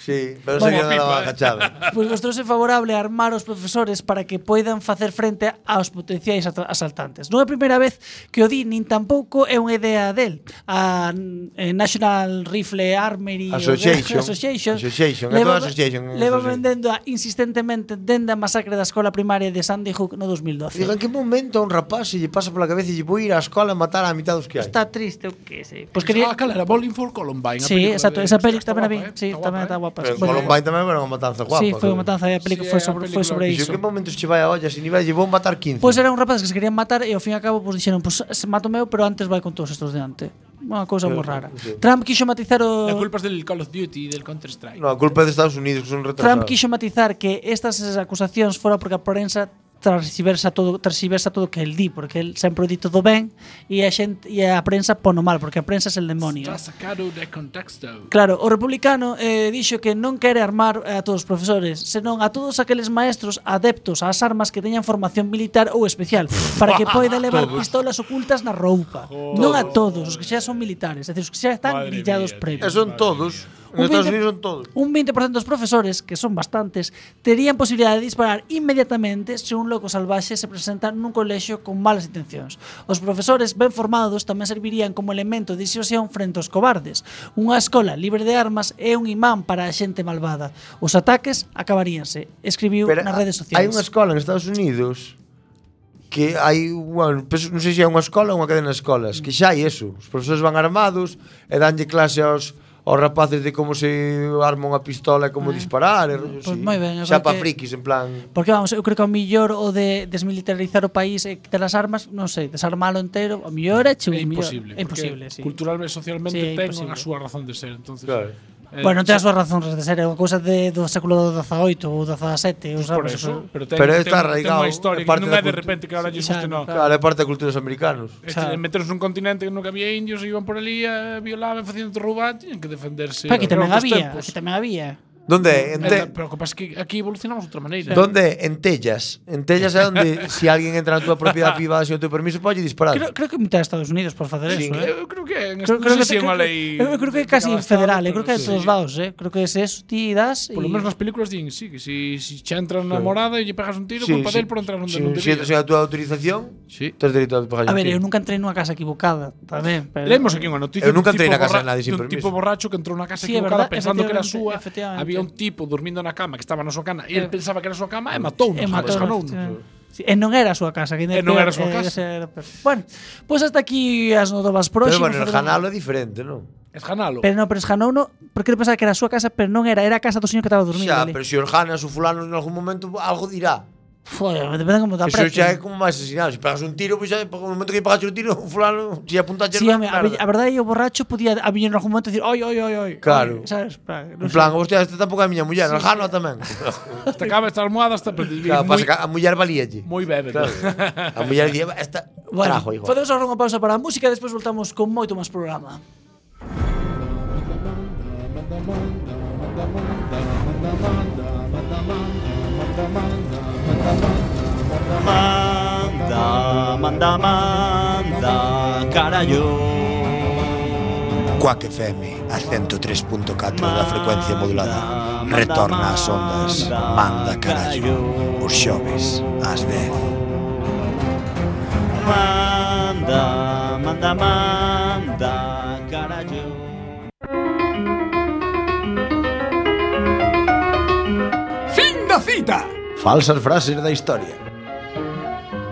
[SPEAKER 2] Sí, pero
[SPEAKER 4] Vamos,
[SPEAKER 2] se vieron a la
[SPEAKER 5] pipa,
[SPEAKER 2] baja
[SPEAKER 5] eh.
[SPEAKER 2] chada.
[SPEAKER 4] Pois mostrouse favorable a armar os profesores para que poidan facer frente aos potenciais atra- asaltantes. Non é a primeira vez que o di, nin tampouco é unha idea del. A eh, National Rifle Armory
[SPEAKER 2] Association.
[SPEAKER 4] Association,
[SPEAKER 2] Association, é
[SPEAKER 4] leva,
[SPEAKER 2] toda association, é
[SPEAKER 4] leva
[SPEAKER 2] association.
[SPEAKER 4] vendendo a, insistentemente dende a masacre da escola primaria de Sandy Hook no 2012.
[SPEAKER 2] [LAUGHS] Digo, en que momento a un rapaz se lle pasa pola cabeza e lle vou ir á escola a matar a mitad dos que hai?
[SPEAKER 4] Está triste, o que sei. Pois
[SPEAKER 5] Quería...
[SPEAKER 4] quería...
[SPEAKER 5] Ah, cal era Bowling for Columbine. a
[SPEAKER 4] Sí,
[SPEAKER 5] película
[SPEAKER 4] exacto,
[SPEAKER 5] de-
[SPEAKER 4] esa peli
[SPEAKER 5] Está
[SPEAKER 4] tamén a vi.
[SPEAKER 5] guapa, eh,
[SPEAKER 4] Sí, tamén está guapa.
[SPEAKER 2] Pero en
[SPEAKER 4] Bueno,
[SPEAKER 2] Columbine tamén era unha matanza guapa.
[SPEAKER 4] Sí, foi
[SPEAKER 2] creo.
[SPEAKER 4] unha matanza, e a
[SPEAKER 5] Sí,
[SPEAKER 4] película
[SPEAKER 5] é
[SPEAKER 4] foi
[SPEAKER 5] a
[SPEAKER 4] sobre, foi
[SPEAKER 5] película
[SPEAKER 4] sobre
[SPEAKER 5] que
[SPEAKER 2] Dixo,
[SPEAKER 4] iso.
[SPEAKER 2] que momento se che vai a olla sin nivel lle vou matar 15?
[SPEAKER 4] Pois eran un rapaz que se querían matar e ao fin e ao cabo pois dixeron, pois se mato meu, pero antes vai con todos estos de antes. Unha cousa moi rara.
[SPEAKER 2] sí.
[SPEAKER 4] Trump quixo matizar o
[SPEAKER 5] La culpa es del Call of Duty, del Counter Strike.
[SPEAKER 2] No, a culpa é de Estados Unidos que son retrasados.
[SPEAKER 4] Trump quixo matizar que estas acusacións fora porque a prensa transversa todo transversa todo que el di, porque el sempre o di todo ben e a xente e a prensa pono mal, porque a prensa é el demonio.
[SPEAKER 5] Está sacado de contexto.
[SPEAKER 4] Claro, o republicano eh, dixo que non quere armar eh, a todos os profesores, senón a todos aqueles maestros adeptos ás armas que teñan formación militar ou especial, para
[SPEAKER 5] [LAUGHS]
[SPEAKER 4] que poida levar pistolas ocultas na roupa. Non a todos, os que xa son militares, é dicir, os que xa están
[SPEAKER 5] Madre
[SPEAKER 4] grillados
[SPEAKER 5] mía,
[SPEAKER 4] previos.
[SPEAKER 2] Eh, Son todos. En Estados
[SPEAKER 4] 20
[SPEAKER 2] Unidos son todos.
[SPEAKER 4] Un 20% dos profesores, que son bastantes, terían posibilidade de disparar inmediatamente se un loco salvaxe se presenta nun colexio con malas intencións. Os profesores ben formados tamén servirían como elemento de disuasión frente aos cobardes. Unha escola libre de armas é un imán para a xente malvada. Os ataques acabaríanse, escribiu
[SPEAKER 2] Pero
[SPEAKER 4] nas redes sociais.
[SPEAKER 2] Hai unha escola en Estados Unidos que hai unha, penso- non sei se é unha escola ou unha cadena de escolas, que xa hai eso. Os profesores van armados e danlle clase aos aos rapaces de como se arma unha pistola e como disparar, e rollo
[SPEAKER 4] Pois
[SPEAKER 2] así.
[SPEAKER 4] Eh, moi ben, eu
[SPEAKER 2] xa
[SPEAKER 4] creo
[SPEAKER 2] pa
[SPEAKER 4] que-
[SPEAKER 2] frikis en plan.
[SPEAKER 4] Porque vamos, eu creo que ao mellor o de desmilitarizar o país e quitar as armas, non sei, desarmalo entero, ao mellor é chu,
[SPEAKER 5] É
[SPEAKER 4] ao mellor-
[SPEAKER 5] imposible.
[SPEAKER 4] É imposible, sí.
[SPEAKER 5] Culturalmente e socialmente
[SPEAKER 4] Sí, é
[SPEAKER 5] ten
[SPEAKER 4] imposible.
[SPEAKER 5] a súa razón de ser. Entonces,
[SPEAKER 2] Claro.
[SPEAKER 5] eh,
[SPEAKER 4] Bueno, non ten as
[SPEAKER 5] xa-
[SPEAKER 4] súas razóns de ser, é unha cousa de, do século XVIII ou XVII. Pues
[SPEAKER 5] Por eso, pero, ten,
[SPEAKER 2] Pero
[SPEAKER 5] ten-
[SPEAKER 2] está
[SPEAKER 5] ten
[SPEAKER 2] arraigado,
[SPEAKER 5] unha historia
[SPEAKER 2] é parte
[SPEAKER 5] que non é
[SPEAKER 2] da
[SPEAKER 5] de
[SPEAKER 2] cultu-
[SPEAKER 5] repente que ahora lles
[SPEAKER 4] xa,
[SPEAKER 5] guste, no.
[SPEAKER 4] claro.
[SPEAKER 2] Claro, é parte da cultura dos americanos.
[SPEAKER 5] Este,
[SPEAKER 4] Claro.
[SPEAKER 5] meteros nun continente que nunca había indios, iban por ali, eh, violaban, facían roubar, tiñan que defenderse.
[SPEAKER 4] Pero aquí tamén
[SPEAKER 5] Eran outros
[SPEAKER 4] había,
[SPEAKER 5] tempos.
[SPEAKER 4] aquí tamén había.
[SPEAKER 2] Donde en
[SPEAKER 5] Eh,
[SPEAKER 2] te,
[SPEAKER 5] ta- Pero o que pasa é que aquí evolucionamos de outra maneira.
[SPEAKER 2] donde en Tellas, en Tellas é onde se alguén entra na
[SPEAKER 4] [LAUGHS]
[SPEAKER 2] tua propiedade privada sen o teu permiso pode disparar.
[SPEAKER 4] Creo, creo que mitad de Estados Unidos por facer
[SPEAKER 2] Sí,
[SPEAKER 4] eso, eh.
[SPEAKER 5] Eu creo que en
[SPEAKER 4] Creo,
[SPEAKER 5] Estados
[SPEAKER 4] creo, que,
[SPEAKER 5] Unidos é
[SPEAKER 4] creo,
[SPEAKER 5] unha
[SPEAKER 4] que-
[SPEAKER 5] lei.
[SPEAKER 4] eu creo que é casi
[SPEAKER 5] avanzada,
[SPEAKER 4] federal, eh, creo
[SPEAKER 5] pero
[SPEAKER 4] que é de
[SPEAKER 5] sí.
[SPEAKER 4] todos lados, eh. Creo que es eso, ti das
[SPEAKER 5] Por lo
[SPEAKER 4] y-
[SPEAKER 5] menos nas películas din, sí, que si, si xa entras na morada e lle pegas un tiro,
[SPEAKER 2] Sí,
[SPEAKER 5] culpa
[SPEAKER 2] sí.
[SPEAKER 5] del por entrar onde
[SPEAKER 2] Se
[SPEAKER 5] non
[SPEAKER 2] se entras sen
[SPEAKER 5] debía.
[SPEAKER 2] a tua autorización,
[SPEAKER 5] Sí.
[SPEAKER 2] tes dereito a pagar.
[SPEAKER 4] A ver, eu nunca entrei nunha casa equivocada, tamén, pero
[SPEAKER 5] Leemos aquí unha noticia
[SPEAKER 2] Eu nunca
[SPEAKER 5] dun
[SPEAKER 2] entrei
[SPEAKER 5] tipo
[SPEAKER 2] na casa de
[SPEAKER 5] borra-
[SPEAKER 2] nadie sin
[SPEAKER 5] dun
[SPEAKER 2] permiso.
[SPEAKER 5] tipo borracho que entrou na casa
[SPEAKER 4] Sí, é
[SPEAKER 5] equivocada
[SPEAKER 4] verdad,
[SPEAKER 5] pensando que era
[SPEAKER 4] efectivamente,
[SPEAKER 5] súa.
[SPEAKER 4] efectivamente.
[SPEAKER 5] Había un tipo dormindo na cama que estaba na súa cama e
[SPEAKER 4] Eh,
[SPEAKER 5] el pensaba que era a súa cama e matou
[SPEAKER 4] E matou, efectivamente.
[SPEAKER 5] nos
[SPEAKER 4] Sí, e non era a súa casa, que ainda
[SPEAKER 5] E non
[SPEAKER 4] peor,
[SPEAKER 5] era a
[SPEAKER 4] eh,
[SPEAKER 5] súa casa.
[SPEAKER 4] ese era peor. Bueno, pois hasta aquí as novas
[SPEAKER 2] Pero
[SPEAKER 4] próximas.
[SPEAKER 2] bueno, el janalo é diferente, non?
[SPEAKER 5] Esganalo.
[SPEAKER 4] Pero no, pero esganouno, porque eu pensaba que era a súa casa, pero non era, era a casa do señor que estaba dormindo
[SPEAKER 2] Xa,
[SPEAKER 4] ali.
[SPEAKER 2] pero se os janas ou fulanos en algún momento pues, algo dirá.
[SPEAKER 4] Foi, depende como te
[SPEAKER 2] Eso
[SPEAKER 4] apretes.
[SPEAKER 2] xa é como máis asesinato. Se pegas un tiro, pues pois xa, no momento que lle pegas un tiro, un fulano, se lle apunta a
[SPEAKER 4] Sí, home, a, ve- a verdade é que o borracho podía a miña en algún momento dicir, oi, oi, oi, oi.
[SPEAKER 2] Claro.
[SPEAKER 4] Oi, sabes, pa, non
[SPEAKER 2] En plan, hostia, este esta tampouco é a miña muller, sí, jano tamén.
[SPEAKER 5] Esta cama, esta almohada, esta
[SPEAKER 2] claro,
[SPEAKER 5] claro,
[SPEAKER 2] pasa que a muller valíalle.
[SPEAKER 5] moi bebe. pues.
[SPEAKER 2] Claro. A muller día, esta
[SPEAKER 4] Bueno,
[SPEAKER 2] trajo, hijo.
[SPEAKER 4] podemos agora unha pausa para a música e despois voltamos con moito máis programa.
[SPEAKER 9] Manda, manda, manda, carallo.
[SPEAKER 7] Cuac FM, a 103.4 da frecuencia modulada. Retorna ás ondas, manda carallo. Os xoves, ás 10.
[SPEAKER 9] Manda, manda, manda, carallo.
[SPEAKER 7] Falsas frases da historia.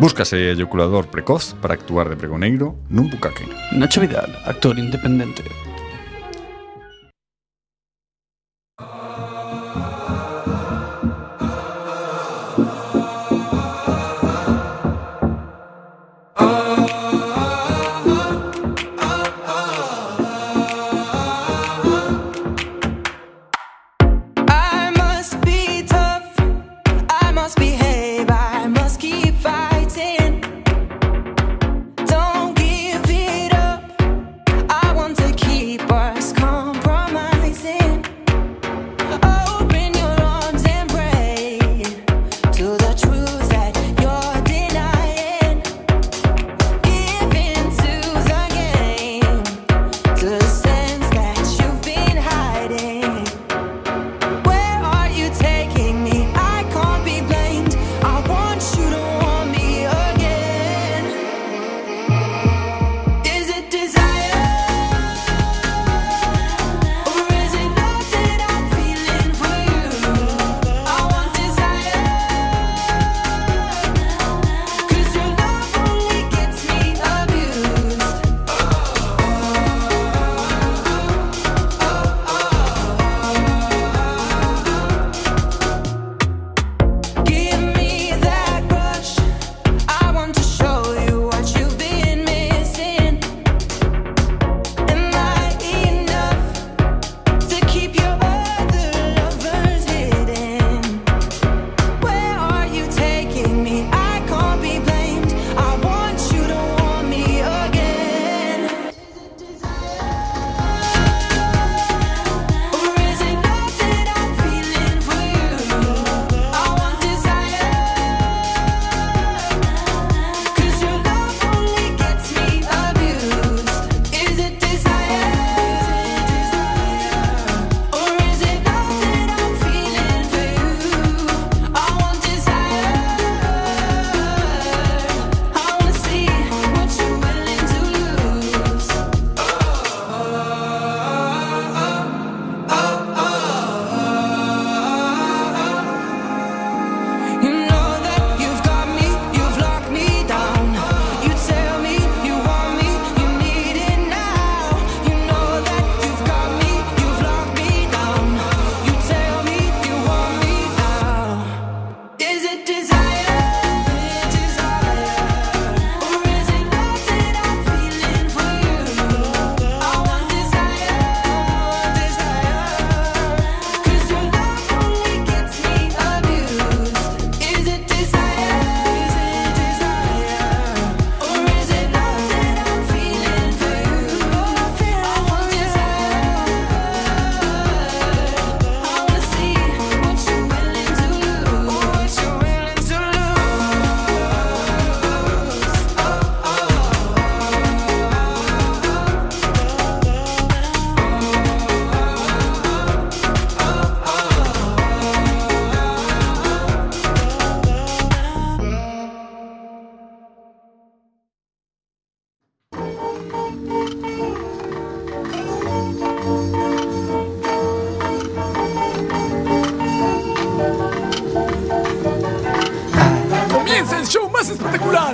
[SPEAKER 10] Búscase eyaculador precoz para actuar de pregoneiro nun bucaque.
[SPEAKER 9] Nacho Vidal, actor independente.
[SPEAKER 6] I must be tough. I must behave. I must keep fighting. Don't give it up. I want to keep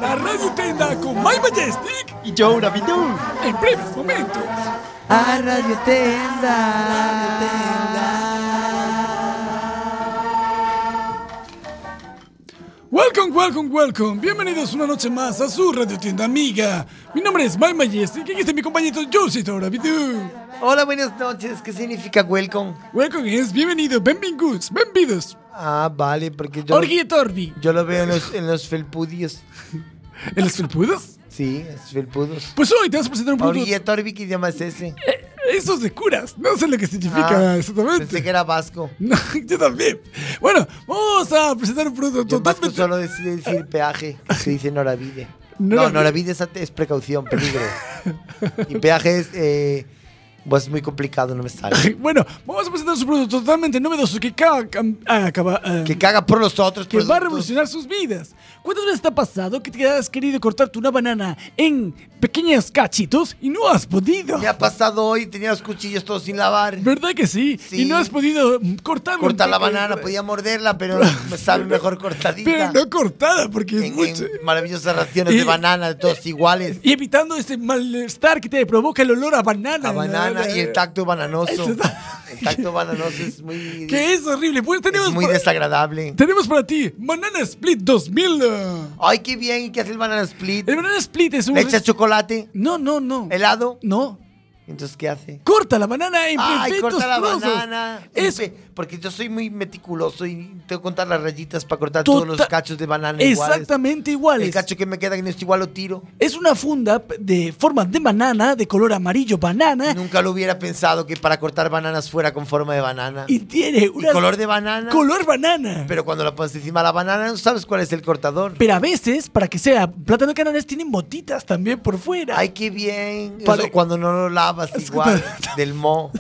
[SPEAKER 4] My Majestic
[SPEAKER 2] y Joe Navidou.
[SPEAKER 4] en breves momentos.
[SPEAKER 2] A Radio Tenda.
[SPEAKER 4] Welcome, welcome, welcome. Bienvenidos una noche más a su radio tienda amiga. Mi nombre es My Majestic y aquí está mi compañero Josie Torabidu.
[SPEAKER 2] Hola, buenas noches. ¿Qué significa welcome?
[SPEAKER 4] Welcome es bienvenido, bienvenidos, bienvenidos.
[SPEAKER 2] Ah, vale, porque yo.
[SPEAKER 4] Orgi Torbi.
[SPEAKER 2] Yo lo veo en los, en los felpudios.
[SPEAKER 4] ¿En los felpudos?
[SPEAKER 2] Sí, en los felpudos.
[SPEAKER 4] Pues hoy te vas a presentar un producto.
[SPEAKER 2] Orguilla Torbi, ¿qué idioma es ese?
[SPEAKER 4] Eso es de curas, no sé lo que significa
[SPEAKER 2] Ah,
[SPEAKER 4] exactamente.
[SPEAKER 2] pensé que era vasco.
[SPEAKER 4] [LAUGHS] No, yo también. Bueno, vamos a presentar un producto
[SPEAKER 2] Yo más que
[SPEAKER 4] totalmente.
[SPEAKER 2] solo decide decir peaje, que se dice Noravide.
[SPEAKER 4] No,
[SPEAKER 2] No,
[SPEAKER 4] no.
[SPEAKER 2] Noravide es, ante- es precaución,
[SPEAKER 4] [LAUGHS]
[SPEAKER 2] peligro. y peaje es. Eh, pues muy complicado, no me sale.
[SPEAKER 4] Bueno, vamos a presentar un producto totalmente novedoso que caga, cam- ah, acaba, ah,
[SPEAKER 2] Que caga por los otros.
[SPEAKER 4] que va a
[SPEAKER 2] productos.
[SPEAKER 4] revolucionar sus vidas. ¿Cuántas veces te ha pasado que te has querido cortarte una banana en pequeños cachitos y no has podido?
[SPEAKER 2] Me ha pasado hoy, tenía los cuchillos todos sin lavar.
[SPEAKER 4] ¿Verdad que sí?
[SPEAKER 2] Sí.
[SPEAKER 4] Y no has podido mm, cortarlo.
[SPEAKER 2] Cortar
[SPEAKER 4] en
[SPEAKER 2] la
[SPEAKER 4] pequeños-
[SPEAKER 2] banana, podía morderla,
[SPEAKER 4] [LAUGHS]
[SPEAKER 2] pero me sabe mejor cortadita.
[SPEAKER 4] Pero no cortada porque es
[SPEAKER 2] en,
[SPEAKER 4] mucho.
[SPEAKER 2] en maravillosas raciones de
[SPEAKER 4] Y-
[SPEAKER 2] banana, de todos iguales.
[SPEAKER 4] Y evitando ese malestar que te provoca el olor a banana.
[SPEAKER 2] La banana y el tacto bananoso.
[SPEAKER 4] Eso
[SPEAKER 2] El tacto bananoso es muy,
[SPEAKER 4] [LAUGHS] Que es horrible. Pues tenemos,
[SPEAKER 2] es muy
[SPEAKER 4] pa-
[SPEAKER 2] desagradable.
[SPEAKER 4] tenemos para ti Banana Split 2000. eh.
[SPEAKER 2] Ay, qué bien, ¿y qué hace el banana split?
[SPEAKER 4] El Banana Split es un...
[SPEAKER 2] ¿Le echas chocolate?
[SPEAKER 4] No, no, no.
[SPEAKER 2] ¿Helado?
[SPEAKER 4] No.
[SPEAKER 2] Entonces, ¿qué hace?
[SPEAKER 4] Corta la banana en
[SPEAKER 2] Ay,
[SPEAKER 4] perfectos
[SPEAKER 2] corta la
[SPEAKER 4] trozos.
[SPEAKER 2] banana.
[SPEAKER 4] Es-
[SPEAKER 2] Pe- Porque yo soy muy meticuloso y tengo que contar las rayitas para cortar todos los
[SPEAKER 4] Tota-
[SPEAKER 2] cachos de banana iguales.
[SPEAKER 4] Exactamente iguales.
[SPEAKER 2] El cacho que me queda que no es igual
[SPEAKER 4] [LAUGHS]
[SPEAKER 2] lo tiro.
[SPEAKER 4] Es una funda de forma de banana, de color amarillo banana,
[SPEAKER 2] Nunca lo hubiera pensado que para cortar bananas fuera con forma de banana.
[SPEAKER 4] y tiene un
[SPEAKER 2] color de banana.
[SPEAKER 4] Color banana.
[SPEAKER 2] Pero cuando la pones encima de la banana, no sabes cuál es el cortador.
[SPEAKER 4] Pero a veces, para que sea plátano canales, tienen botitas también por fuera.
[SPEAKER 2] Ay, qué bien. Eso
[SPEAKER 4] Pare-
[SPEAKER 2] cuando no lo lavas
[SPEAKER 4] Es que
[SPEAKER 2] igual
[SPEAKER 4] ta-
[SPEAKER 2] del mo.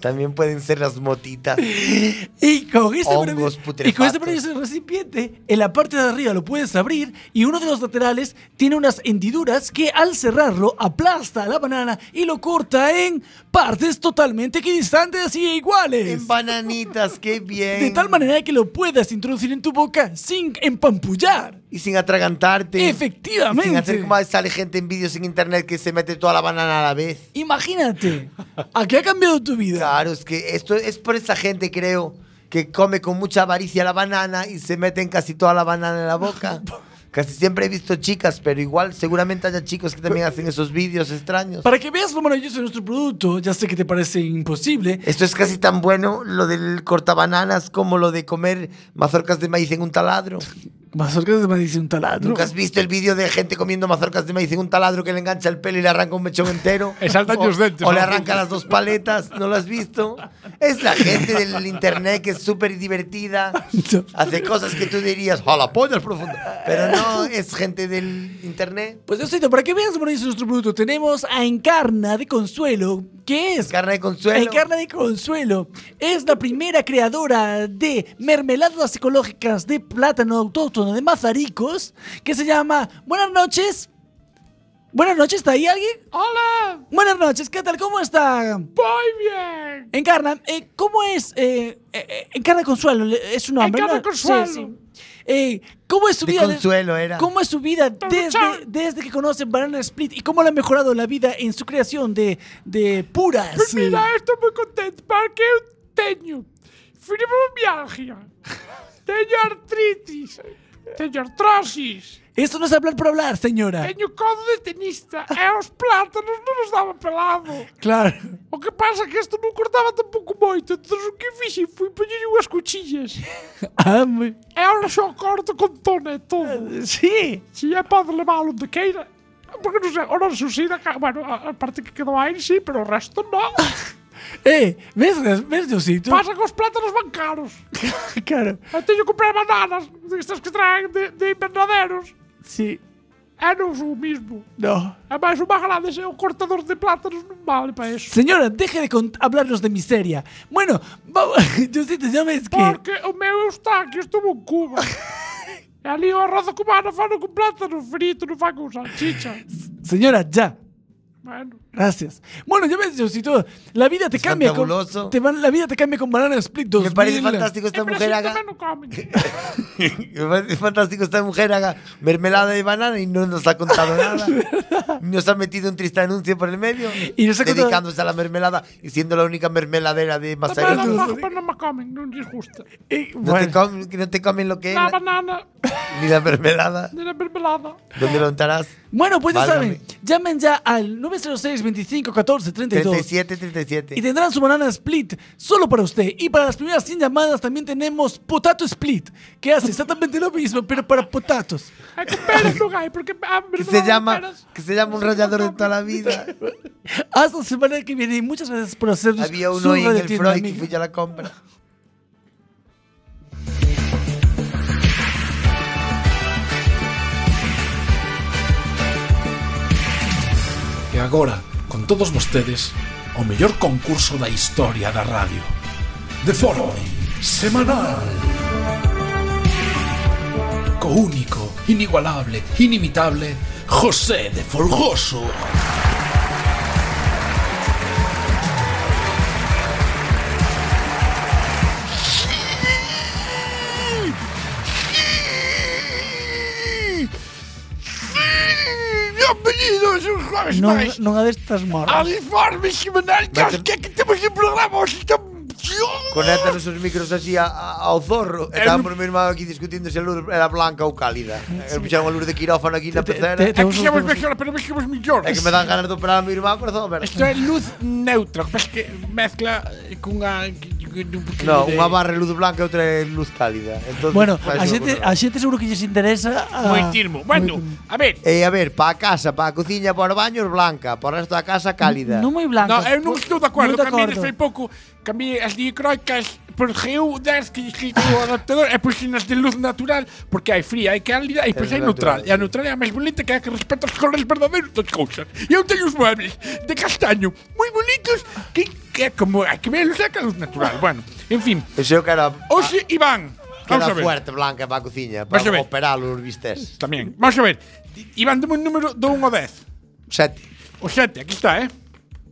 [SPEAKER 2] También pueden ser
[SPEAKER 4] [LAUGHS]
[SPEAKER 2] las motitas.
[SPEAKER 4] Y con este,
[SPEAKER 2] Hongos
[SPEAKER 4] maravilloso- y con
[SPEAKER 2] putrefactos.
[SPEAKER 4] este maravilloso recipiente, en la parte de arriba lo puedes abrir y uno de los laterales tiene unas hendiduras que al cerrarlo aplasta a la banana y lo corta en partes totalmente equidistantes y iguales.
[SPEAKER 2] En bananitas, qué bien.
[SPEAKER 4] De tal manera que lo puedas introducir en tu boca sin empampullar.
[SPEAKER 2] Y sin atragantarte.
[SPEAKER 4] Efectivamente.
[SPEAKER 2] Y sin hacer como sale gente en vídeos en internet que se mete toda la banana a la vez.
[SPEAKER 4] Imagínate, ¿a qué ha cambiado tu vida?
[SPEAKER 2] Claro, es que esto es por esa gente, creo, que come con mucha avaricia la banana y se meten casi toda la banana en
[SPEAKER 4] [LAUGHS]
[SPEAKER 2] la boca. Casi siempre he visto chicas, pero igual seguramente haya chicos que también hacen esos vídeos extraños.
[SPEAKER 4] Para que veas lo maravilloso de nuestro producto, ya sé que te parece imposible,
[SPEAKER 2] Esto es casi tan bueno lo del cortabananas como lo de comer mazorcas de maíz en un taladro.
[SPEAKER 4] Mazorcas de maíz y un taladro.
[SPEAKER 2] ¿Nunca has visto el vídeo de gente comiendo mazorcas de maíz en un taladro que le engancha el pelo y le arranca un
[SPEAKER 4] [LAUGHS]
[SPEAKER 2] mechón entero?
[SPEAKER 5] Le saltan
[SPEAKER 2] O-
[SPEAKER 5] los dientes,
[SPEAKER 2] O le
[SPEAKER 5] ¿no?
[SPEAKER 2] arranca las dos paletas, ¿no lo has visto? Es la gente del internet que es súper divertida, hace cosas que tú dirías, ¡a la polla es profundo! Pero no, es gente del internet.
[SPEAKER 4] Pues Diosito, para que veas lo maravilloso de nuestro producto, tenemos a Encarna de Consuelo, que es...
[SPEAKER 2] Carne de consuelo.
[SPEAKER 4] Encarna de Consuelo es la primera creadora de mermeladas ecológicas de plátano autóctono de Mazaricos, que se llama Buenas noches. Buenas noches, ¿está ahí alguien?
[SPEAKER 5] ¡Hola!
[SPEAKER 4] Buenas noches, ¿qué tal? ¿Cómo está?
[SPEAKER 5] ¡Muy bien!
[SPEAKER 4] Encarna, eh, ¿cómo es? eh, eh, eh, Encarna Consuelo, le- es un hombre.
[SPEAKER 5] Encarna
[SPEAKER 4] ¿no?
[SPEAKER 5] Consuelo.
[SPEAKER 4] Eh, ¿Cómo es su
[SPEAKER 2] De
[SPEAKER 4] vida? de-
[SPEAKER 2] Consuelo era.
[SPEAKER 4] ¿Cómo es su vida desde,
[SPEAKER 5] Chan.
[SPEAKER 4] desde que conoce Banana Split y cómo le ha mejorado la vida en su creación de, de puras?
[SPEAKER 5] Pues mira, estou moi contento porque eu teño
[SPEAKER 4] [LAUGHS]
[SPEAKER 5] fibromialgia, teño artritis, teño artrosis,
[SPEAKER 4] Esto no es hablar por hablar, señora.
[SPEAKER 5] teño codo de tenista e os plátanos non nos daba pelado.
[SPEAKER 4] Claro.
[SPEAKER 5] O que pasa é que isto non cortaba tampouco moito, entón o que fixen foi poñer unhas cuchillas.
[SPEAKER 4] [LAUGHS] Ah, muy-
[SPEAKER 5] E ahora só corto con tona e todo.
[SPEAKER 4] sí.
[SPEAKER 5] Si é pode leválo onde queira. Porque non sei, o non suicida, ca- bueno, a a parte que quedou aí sí, pero o resto non.
[SPEAKER 4] Eh, ¿ves, ves Diosito? Ah,
[SPEAKER 5] Pasa que os plátanos van caros.
[SPEAKER 4] Claro,
[SPEAKER 5] Eu teño que comprar bananas destas que traen de, de invernaderos.
[SPEAKER 4] sí.
[SPEAKER 5] É non sou o mismo.
[SPEAKER 4] No.
[SPEAKER 5] É máis unha grande é o cortador de plátanos non vale para iso.
[SPEAKER 4] Señora, deje de cont- hablarnos de miseria. Bueno, vamos, [LAUGHS] Diosito, ya ves que...
[SPEAKER 5] Porque o é meu está que estuvo en
[SPEAKER 2] [LAUGHS]
[SPEAKER 5] Cuba. e ali o arroz cubano fano con plátano frito, non fan con salchicha.
[SPEAKER 4] Señora, ya.
[SPEAKER 5] Bueno.
[SPEAKER 4] Gracias. Bueno, ya ves, si todo. La vida te
[SPEAKER 2] Es
[SPEAKER 4] cambia. con-
[SPEAKER 2] fantabuloso.
[SPEAKER 4] te van- la vida te cambia con Banana Split 2000.
[SPEAKER 2] Me parece
[SPEAKER 5] é
[SPEAKER 2] fantástico esta mujer haga. [LAUGHS] É Me parece fantástico esta mujer haga mermelada de banana y no nos ha
[SPEAKER 4] [LAUGHS]
[SPEAKER 2] contado nada. Nos ha metido un triste anuncio por el medio.
[SPEAKER 4] Y nos ha contado-
[SPEAKER 2] dedicándose a la mermelada y siendo la única mermeladera de Masaryuki.
[SPEAKER 5] Pero las
[SPEAKER 2] No,
[SPEAKER 5] papas no me comen, no les gusta.
[SPEAKER 2] te comen, que no te comen lo que es
[SPEAKER 5] La
[SPEAKER 2] la-
[SPEAKER 5] banana
[SPEAKER 2] ni la mermelada.
[SPEAKER 5] de la mermelada.
[SPEAKER 2] ¿Dónde lo untarás?
[SPEAKER 4] Bueno, pues ya
[SPEAKER 2] Válgame.
[SPEAKER 4] saben, llamen ya al 906 25 14 32
[SPEAKER 2] 37, 37.
[SPEAKER 4] y tendrán su banana split solo para usted. Y para las primeras 100 llamadas también tenemos Potato Split, que hace exactamente lo mismo, pero para potatos.
[SPEAKER 5] Hay que É peras, no hay, porque ah,
[SPEAKER 2] que
[SPEAKER 5] mermelada
[SPEAKER 2] se
[SPEAKER 5] de
[SPEAKER 2] llama
[SPEAKER 5] peras.
[SPEAKER 2] que se llama un rayador de toda la vida.
[SPEAKER 4] Pues Hasta la semana que viene y muchas gracias por hacernos
[SPEAKER 2] Había
[SPEAKER 4] su
[SPEAKER 2] uno en el
[SPEAKER 4] radiotienda,
[SPEAKER 2] Freud que
[SPEAKER 4] amigo.
[SPEAKER 2] fui yo a la compra.
[SPEAKER 5] E agora, con todos vostedes, o mellor concurso da historia da radio. De forma semanal. Co único, inigualable, inimitable, José de Folgoso. Bienvenidos un jueves
[SPEAKER 4] Non, non a destas morras.
[SPEAKER 5] informe semanal que aos que é que temos en programa hoxe estamos...
[SPEAKER 2] Conéctanos os micros así a, a- ao zorro. E Estábamos mi irmán aquí discutindo se a luz era blanca ou cálida. E puxaron a luz de quirófano aquí na pecera.
[SPEAKER 4] te-
[SPEAKER 2] É
[SPEAKER 5] É que
[SPEAKER 4] Temos
[SPEAKER 5] somos
[SPEAKER 4] outro-
[SPEAKER 5] mellores, pero somos mellores.
[SPEAKER 2] que me dan ganas de operar a mi irmán corazón aberto.
[SPEAKER 5] Isto é luz neutra, que pasa que mezcla eh, cunha...
[SPEAKER 2] No, unha barra é luz blanca e outra é luz cálida. Entonces,
[SPEAKER 4] Bueno, a
[SPEAKER 2] fai unha
[SPEAKER 4] xente, a
[SPEAKER 2] cosa.
[SPEAKER 4] xente seguro que lles interesa a...
[SPEAKER 2] Ah,
[SPEAKER 5] Moitirmo. Bueno, a ver,
[SPEAKER 2] E Eh, a ver, pa a casa, pa a cociña, para o baño, blanca, para o resto da casa, cálida.
[SPEAKER 4] Non moi blanco.
[SPEAKER 5] eh, No, eu non estou de
[SPEAKER 4] Non
[SPEAKER 5] acordo.
[SPEAKER 4] de acordo.
[SPEAKER 5] Cambiei desde hai pouco. Cambiei as diacrónicas por GU10 que que o adaptador e puxen as de luz natural porque hai fría, hai cálida e pois
[SPEAKER 2] É
[SPEAKER 5] hai neutral.
[SPEAKER 2] natural,
[SPEAKER 5] E
[SPEAKER 2] sí.
[SPEAKER 5] a neutral é a máis bonita que é a que respeta os colores verdadeiros das cousas. E eu teño os muebles de castaño moi bonitos que, que é como hai que verlos é que a luz natural. Bueno, en fin.
[SPEAKER 2] Ese eu quero,
[SPEAKER 5] Hoxe, Iván. Oh, Vamos
[SPEAKER 2] quero
[SPEAKER 5] a
[SPEAKER 2] a
[SPEAKER 5] ver.
[SPEAKER 2] fuerte blanca para a cociña, para
[SPEAKER 5] Vas a ver.
[SPEAKER 2] operar os bistés.
[SPEAKER 5] Tamén. Vamos a ver. Iván, dame un número do 1 ao 10.
[SPEAKER 2] Sete.
[SPEAKER 5] O 7, aquí está, eh?